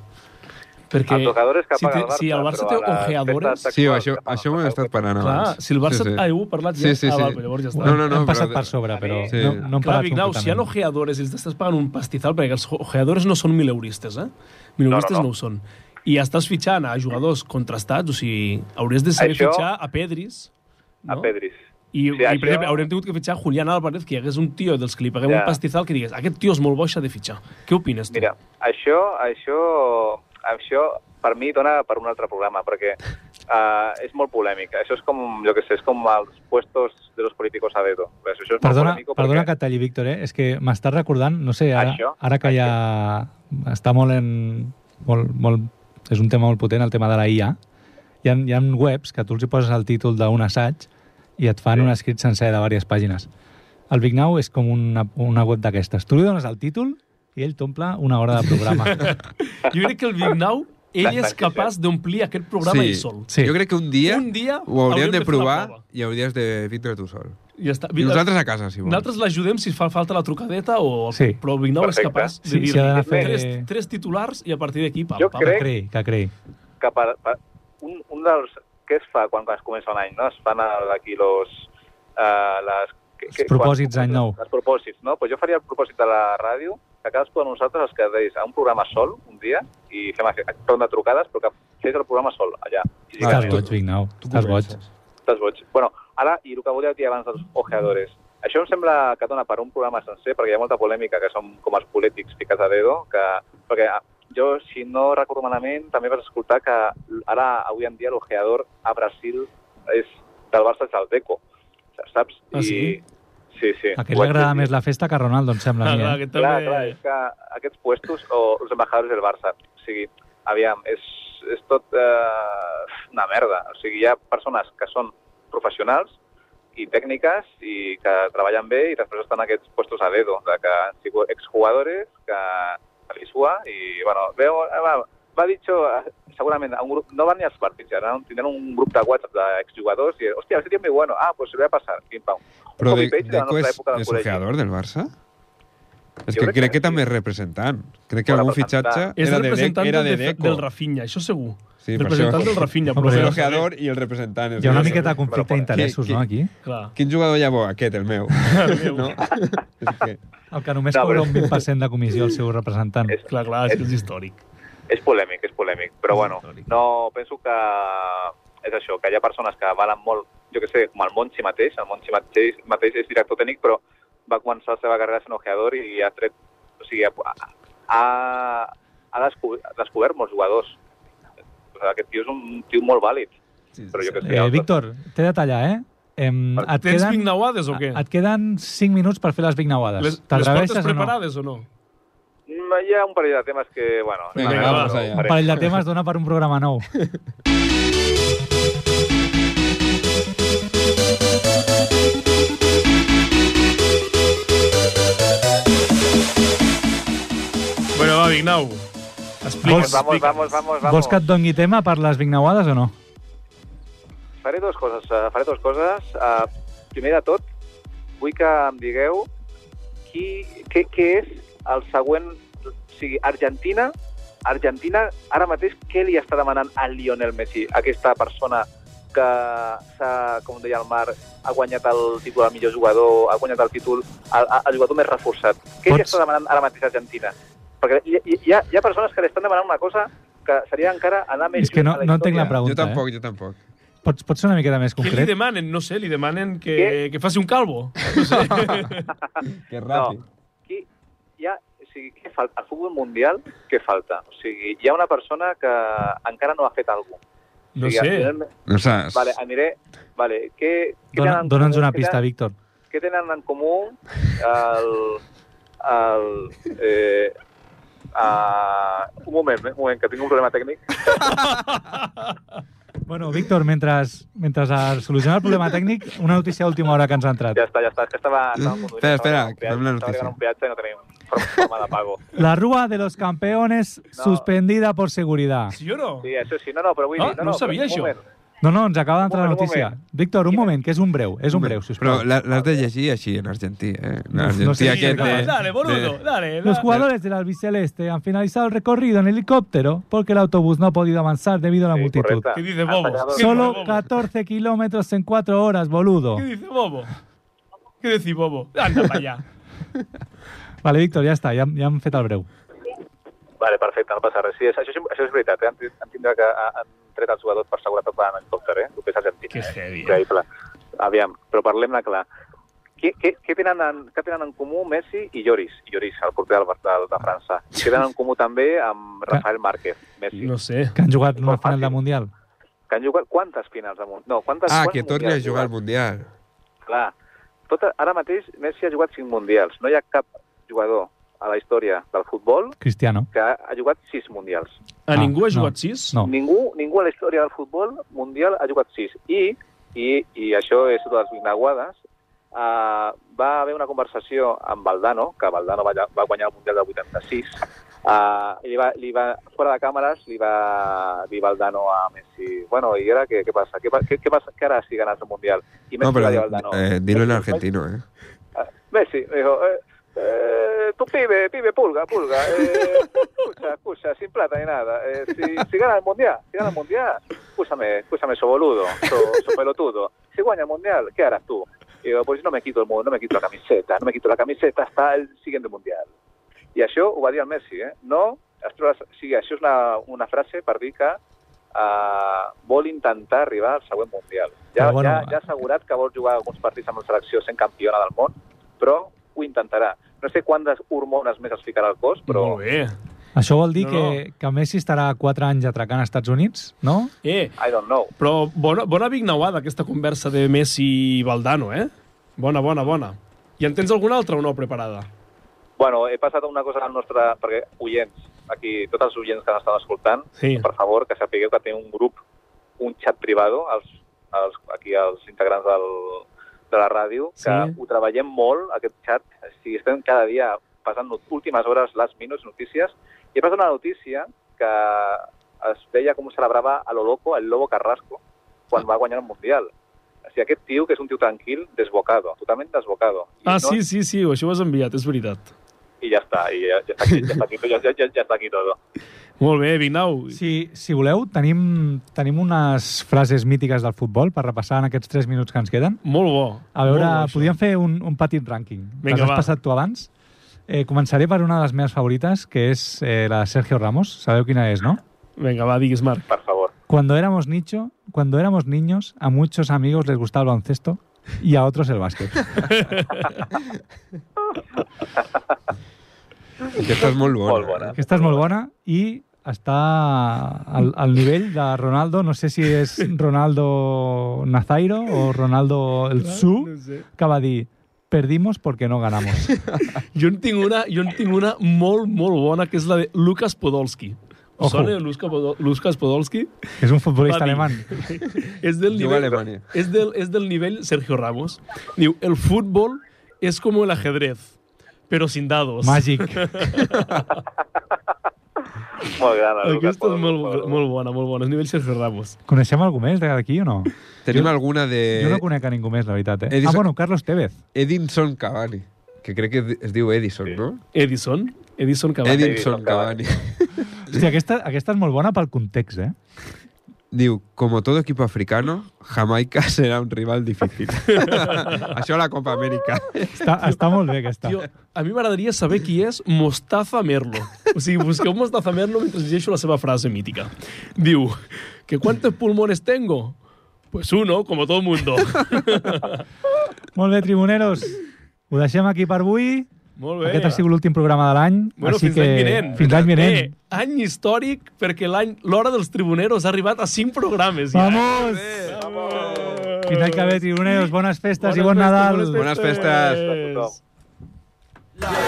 F: Perquè
G: Els ojeadores que
F: si, té-
G: paga el Barça,
F: si el Barça
G: però
F: té
G: a les
F: ojeadores...
G: festes
A: Sí, això, això m'ho he estat parant
F: Clar,
A: abans.
F: si el Barça...
A: Sí, sí.
F: Ah, heu parlat ja?
A: Sí, sí,
F: ah,
A: sí.
F: val, però llavors ja està.
A: No, no, no,
B: Hem passat
A: però-
B: per sobre, però
A: Sí.
B: no, no hem
F: Clar,
B: parat
F: Vignau, si hi ha
B: completament.
F: ojeadores i els estàs pagant un pastizal, perquè els ojeadores no són mileuristes, eh? Mileuristes
G: No, no, no.
F: no, ho són. I estàs fitxant a jugadors contrastats, o sigui, hauries de saber
G: Això-
F: fitxar a Pedris,
G: A
F: no?
G: Pedris.
F: I,
G: Sí,
F: sí, i, per
G: això-
F: exemple, haurem tingut que fitxar Julián Álvarez, que hi hagués un tio dels que li paguem
G: Ja.
F: un pastizal que digués aquest tio és molt bo, això de fitxar. Què opines tu?
G: Mira, això, això, això per mi dona per un altre programa, perquè uh, és molt polèmic. Això és com, jo que sé, és com els puestos de los políticos a dedo. Això és molt
B: Perdona,
G: polèmico
B: perdona
G: perquè-
B: que et talli, Víctor, eh? és que m'estàs recordant, no sé, ara,
G: Això,
B: ara que ja està molt en... Molt, molt, és un tema molt potent, el tema de la IA. Hi ha, hi ha webs que tu els hi poses el títol d'un assaig i et fan sí. un escrit sencer de diverses pàgines. El Big Now és com una, una web
G: [LAUGHS]
B: d'aquestes. Tu li dones el títol i ell t'omple una hora de programa.
F: Jo crec que el Vignau Ell
G: Tant
F: és
G: que
F: capaç d'omplir aquest programa ell sol.
B: Sí.
A: Jo crec que un dia,
F: Un dia
A: ho hauríem
F: hauríem de
A: de
F: fer la
A: provar
F: prova.
A: i hauries de vindre tu sol.
F: Ja està. Eh,
A: I nosaltres a casa, si vols.
F: Nosaltres l'ajudem si fa falta la trucadeta o...
B: Sí.
F: Però Vignau és
G: Perfecte.
F: capaç de
B: Sí,
F: dir
B: s'hi ha d'anar a fer-
F: tres, tres titulars i a partir d'aquí... pam,
G: Jo
F: pam.
B: Que
G: crec-
B: creï, que creï.
G: que per, per un, un dels... Què es fa quan, quan es comença un any? No? Es fan el- aquí los, uh, les... que- que-
B: Els propòsits
G: quan-
B: d'any nou.
G: Els propòsits, no? Pues jo faria el propòsit de la ràdio, que cadascú de nosaltres es quedés a un programa sol un dia i fem aquest torn de trucades, però que fes el programa sol allà. I
A: Ah,
B: Estàs
A: tu-
B: boig, Vignau. Estàs boig.
G: Estàs boig. Bueno, ara, i el que volia dir abans dels ojeadores, això em sembla que dona per un programa sencer, perquè hi ha molta polèmica, que som com els polítics ficats a dedo, que, perquè ah, jo, si no recordo malament, també vas escoltar que ara, avui en dia, l'ojeador a Brasil és del Barça és el Deco, saps?
F: Ah, sí?
G: I, sí, sí.
B: A que li agrada més la festa que a Ronaldo, em sembla
F: Ah,
B: a mi.
F: clar,
B: Eh?
F: que també...
G: Clar, clar, és que aquests puestos, o els embajadors del Barça, o sigui, aviam, és, és tot eh, una merda. O sigui, hi ha persones que són professionals i tècniques i que treballen bé i després estan aquests puestos a dedo, de que han sigut exjugadores, que a l'Isua, i, bueno, veu, eh, va, va dicho, eh, segurament, a un grup, no van ni als partits, ara tindran un grup de WhatsApp d'exjugadors i, hòstia, ese tio és muy bueno, ah, pues se lo voy a pasar, pim, pam.
A: Però de,
G: Copy-paste la
A: Deco
G: nostra
A: és,
G: època del
A: és
G: col·legi.
A: ojeador del Barça? És
G: Jo
A: que
G: crec que
A: crec que
G: sí.
A: també és representant. Crec que
G: Bueno,
A: algun
G: representant.
A: fitxatge
F: És
A: era de, Dec,
F: representant
A: era de
F: del, Def-
A: Deco.
F: del Rafinha, això segur.
A: Sí, per
F: representant
A: això.
F: del Rafinha, però...
A: Però és
B: Però-
A: l'ojeador i el representant. és
B: Hi ha una
A: Deco.
B: miqueta de conflicte
G: Però-
B: d'interessos,
A: Qui-
B: no, aquí?
F: Clar.
A: Quin jugador llavors? Aquest, el
F: [LAUGHS]
A: meu. [LAUGHS] no? és que...
B: El que només
G: No,
B: cobra
G: però-
B: un 20% de comissió al seu representant.
G: És-
F: Clar, clar, és que és històric.
G: És polèmic, és polèmic, però bueno, no, penso que és això, que hi ha persones que valen molt, jo que sé, com el Monchi mateix, el Monchi mateix, mateix és director tècnic, però va començar la seva carrera sent ojeador i ha tret, o sigui, ha, ha, ha descobert, descobert molts jugadors. O sigui, aquest tio és un tio molt vàlid, però jo que sé...
B: Eh,
G: altres-
B: Víctor, t'he de tallar, eh? Em, et,
F: Tens queden...
B: queden,
F: vignauades o què?
B: et queden 5 minuts per fer les
F: Les,
B: vignauades.
F: les
B: T'atreveixes
F: portes
B: o no?
F: preparades o no?
G: Mm, Hi ha un parell de temes que, bueno...
A: Vinga,
G: no,
F: va,
G: no,
F: vamos
G: no,
A: allá.
B: Un
G: faré.
B: parell de temes dona per un programa nou.
F: Bueno, va, Vignau.
B: Vols-
F: Explica'ns,
G: Vamos,
F: explica'ns.
G: vamos, vamos, vamos.
B: Vols que et doni tema per les vignauades o no?
G: Faré dues coses. eh, faré dues coses. Uh, primer de tot, vull que em digueu qui, què, què és el següent... O sigui, Argentina, Argentina, ara mateix, què li està demanant a Lionel Messi, aquesta persona que s'ha, com deia el Marc, ha guanyat el títol al millor jugador, ha guanyat el títol al, al jugador més reforçat. Què
B: Pots-
G: li està demanant ara mateix a Argentina? Perquè hi, hi, hi, ha, hi ha persones que li estan demanant una cosa que seria encara anar més
B: És que
G: lluny
B: no-
G: a la
B: no entenc la
G: història.
A: jo
B: pregunta,
F: eh?
A: tampoc, jo tampoc.
B: Pots, pots ser una miqueta més
F: Què li
B: concret?
F: demanen? No sé, li demanen que,
G: Què?
F: que faci un calvo.
A: Que
G: ràpid. Aquí hi ha, o sigui, què falta? Al futbol mundial, què falta? O sigui, hi ha una persona que encara no ha fet alguna cosa.
F: No
G: o sigui,
F: sé.
G: anirem-
A: No saps?
G: Vale, aniré... Vale, què, què
B: Dona-
G: tenen en
B: Dóna'ns
G: comú-
B: una
G: què
B: pista,
G: tenen-
B: Víctor.
G: Què tenen en comú el... el eh, uh, un moment, eh, un moment, que tinc un problema tècnic.
B: Bueno, Víctor, mentre, mentre es soluciona el problema tècnic, una notícia d'última hora que ens ha entrat.
G: Ja està, ja està. És que estava... estava conduint,
A: Espera, espera,
G: estava
A: que fem la
G: pegant un peatge,
A: notícia.
G: Estava pegant un peatge i no tenim forma- forma de pago.
B: La Rúa de los Campeones
G: No.
B: suspendida por seguridad.
F: Sí o no?
G: Sí, això sí. No, no, però vull
F: Ah,
G: dir...
F: no
G: No, no,
F: sabia
G: però un
F: això.
G: moment.
B: No, no, ens acaba d'entrar la
G: Un moment, un
B: notícia.
G: moment.
B: Víctor, un moment, que és un breu, és un breu,
A: Però
B: sisplau.
A: l'ha- l'has de llegir així, en argentí, eh? En
B: No,
A: argentí
B: no sé
A: aquest...
B: si-
A: de-
F: Dale, boludo,
A: de-
F: dale.
B: Los
F: dale.
B: jugadores del albiceleste han finalizado el recorrido en helicóptero porque el autobús no ha podido avanzar debido a la
G: Sí,
B: multitud.
G: correcta.
F: ¿Qué dice
G: Han
F: Bobo?
G: sacado-
F: Sí,
B: Solo
F: Bobo.
B: 14 kilómetros en 4 horas, boludo.
F: ¿Qué dice Bobo? ¿Qué decís, Bobo? Anda para allá.
B: Vale, Víctor, ja està, ja, ja hem fet el breu.
G: Vale, perfecte, no passa res. Sí, això, és- això és veritat, eh? han, han tindrà que ha- han tret els jugadors per seguretat van en helicòpter, eh? El que és Argentina.
F: Que heavy, eh?
G: Increïble. Aviam, però parlem-ne clar. Què, què, què, tenen en, què tenen en comú Messi i Lloris? Lloris, el porter del, del,
A: Ah.
G: de França. Què tenen en comú també amb Rafael Márquez, Messi?
F: No sé.
B: Que han jugat una
G: Molt
B: final de
G: fàcil.
B: Mundial.
G: Que han jugat quantes finals de món? No, quantes,
A: Ah,
G: quants
A: que torni a
G: mundials
A: jugar al
G: ha
A: Mundial.
G: jugat? Clar. Tot, ara mateix Messi ha jugat 5 mundials. No hi ha cap jugador a la història del futbol
B: Cristiano.
G: que ha jugat 6 mundials.
F: A
B: Ah,
F: ningú ha
B: no.
F: jugat sis?
B: No.
G: Ningú, ningú a la història del futbol mundial ha jugat sis. I, i, i això és una de les Ah, vinaguades, uh, va haver una conversació amb Valdano, que Valdano va, lla- va guanyar el Mundial del 86, Uh, li va, li va, fora de càmeres li va dir Valdano a Messi bueno, i ara què, què passa? Què, pa- què, què passa? Què harà si ganas el Mundial? I Messi
A: No, pero
G: va dir a Valdano
A: eh, dilo en argentino, ¿eh?
G: Ah, Messi me dijo, eh, eh, tu pibe, pibe, pulga, pulga, eh, escucha, escucha, sin plata ni nada, eh, si, si gana el Mundial, si gana el Mundial, escúchame, escúchame, so boludo, so, so pelotudo, si gana el Mundial, ¿qué harás tú? Y digo, pues no me quito el mundo, no me quito la camiseta, no me quito la camiseta hasta el siguiente Mundial. I això ho va dir el Messi, eh? No, Astro, sí, això és una, una frase per dir que uh, vol intentar arribar al següent Mundial. Ja,
B: Però bueno,
G: bueno, ja, ja ha assegurat que vol jugar alguns partits amb la selecció sent campiona del món, però ho intentarà. No sé quantes hormones més els ficarà al cos, però...
F: Molt bé.
B: Això vol dir
F: No,
B: no, que, que Messi estarà 4 anys atracant als Estats Units, no?
F: Eh,
G: I don't know.
F: però bona, bona vignauada aquesta conversa de Messi i Valdano, eh? Bona, bona, bona. I en tens alguna altra o no preparada?
G: Bueno, he passat una cosa al nostre... Perquè oients, aquí, tots els oients que ens estan escoltant,
F: Sí.
G: per favor, que sapigueu que té un grup, un xat privado, els, els, aquí els integrants del, de la ràdio, que
F: Sí.
G: ho treballem molt, aquest xat. O sigui, estem cada dia passant not- últimes hores, les minuts, notícies. I he passat una notícia que es deia com celebrava a lo loco el Lobo Carrasco quan va guanyar el Mundial. O sigui, aquest tio, que és un tio tranquil, desbocado, totalment desbocado. I
F: Ah,
G: no-
F: sí, sí, sí, això ho has enviat, és veritat.
G: y ya está, y ya, ya está aquí, ya está aquí, ya, ya- ya- ya está aquí todo.
F: Molt bé, Vignau.
B: Si, si voleu, tenim, tenim unes frases mítiques del futbol per repassar en aquests 3 minuts que ens queden.
F: Molt bo.
B: A veure,
F: Molt bo, això.
B: podíem fer un, un petit rànquing.
F: Vinga,
B: Les has
F: va.
B: passat tu abans. Eh, començaré per una de les meves favorites, que és eh, la de Sergio Ramos. Sabeu quina és, no?
F: Vinga, va, digues, Marc.
G: Por favor.
B: Cuando éramos, nicho, cuando éramos niños, a muchos amigos les gustaba el baloncesto y a otros el
F: [LAUGHS]
B: básquet.
A: Aquesta és molt bona.
G: Molt bona.
B: Aquesta és molt bona i està al, al nivell de Ronaldo. No sé si és Ronaldo Nazairo o Ronaldo el Su,
F: sé.
B: que va dir perdimos porque no
F: [LAUGHS]
B: ganamos.
F: Jo en tinc una, jo en tinc una molt, molt bona, que és la de Lucas Podolski. Ojo.
B: Ojo.
F: Sona Lucas Podo- Lucas Podolski?
B: És un
F: Va
B: futbolista
F: dir.
B: alemany.
F: és del
A: Juga a
F: nivell,
A: Alemanya.
F: és del, és del nivell Sergio Ramos. Diu, el futbol és com el ajedrez, però sin dados.
B: Màgic.
F: [LAUGHS]
G: Muy grande, Lucas,
F: Aquesta
G: por-
F: és molt,
G: por-
F: molt bona, molt bona. És nivell Sergio Ramos.
B: Coneixem algú més d'aquí o no?
A: Tenim alguna de...
B: Jo no conec a ningú més, la veritat. Eh?
A: Eh, he dit-
B: Ah, bueno, Carlos Tevez.
A: Edinson Cavani, que crec que es diu Edison, no?
F: Edison? Edison Cavani.
G: Edi-
A: Edinson
G: Edinson
A: Cavani.
G: Cavani.
B: Hòstia, aquesta, aquesta és molt bona pel context, eh?
A: [LAUGHS] Diu, como todo equipo africano, Jamaica [LAUGHS] serà un rival
B: [LAUGHS]
A: difícil. [LAUGHS] Això a la Copa Amèrica.
F: [LAUGHS]
B: Està, està molt bé, aquesta.
F: Tio, a mi m'agradaria saber qui és Mostafa Merlo. O sigui, busqueu Mostafa Merlo mentre llegeixo la seva frase mítica. Diu, que quantos pulmones tengo? Pues uno, como todo mundo.
B: Molt bé, tribuneros. Ho deixem aquí per avui.
F: Molt bé.
B: Aquest ha sigut l'últim programa de l'any.
F: Bueno,
B: així
F: fins
B: que...
F: l'any vinent.
B: Fins l'any vinent.
F: Eh, any històric perquè l'any l'hora dels tribuneros ha arribat a cinc programes. Ja.
B: ¡Vamos! Fins l'any que ve, tribuneros. Bones festes i bon Nadal.
A: Bones festes.
G: por-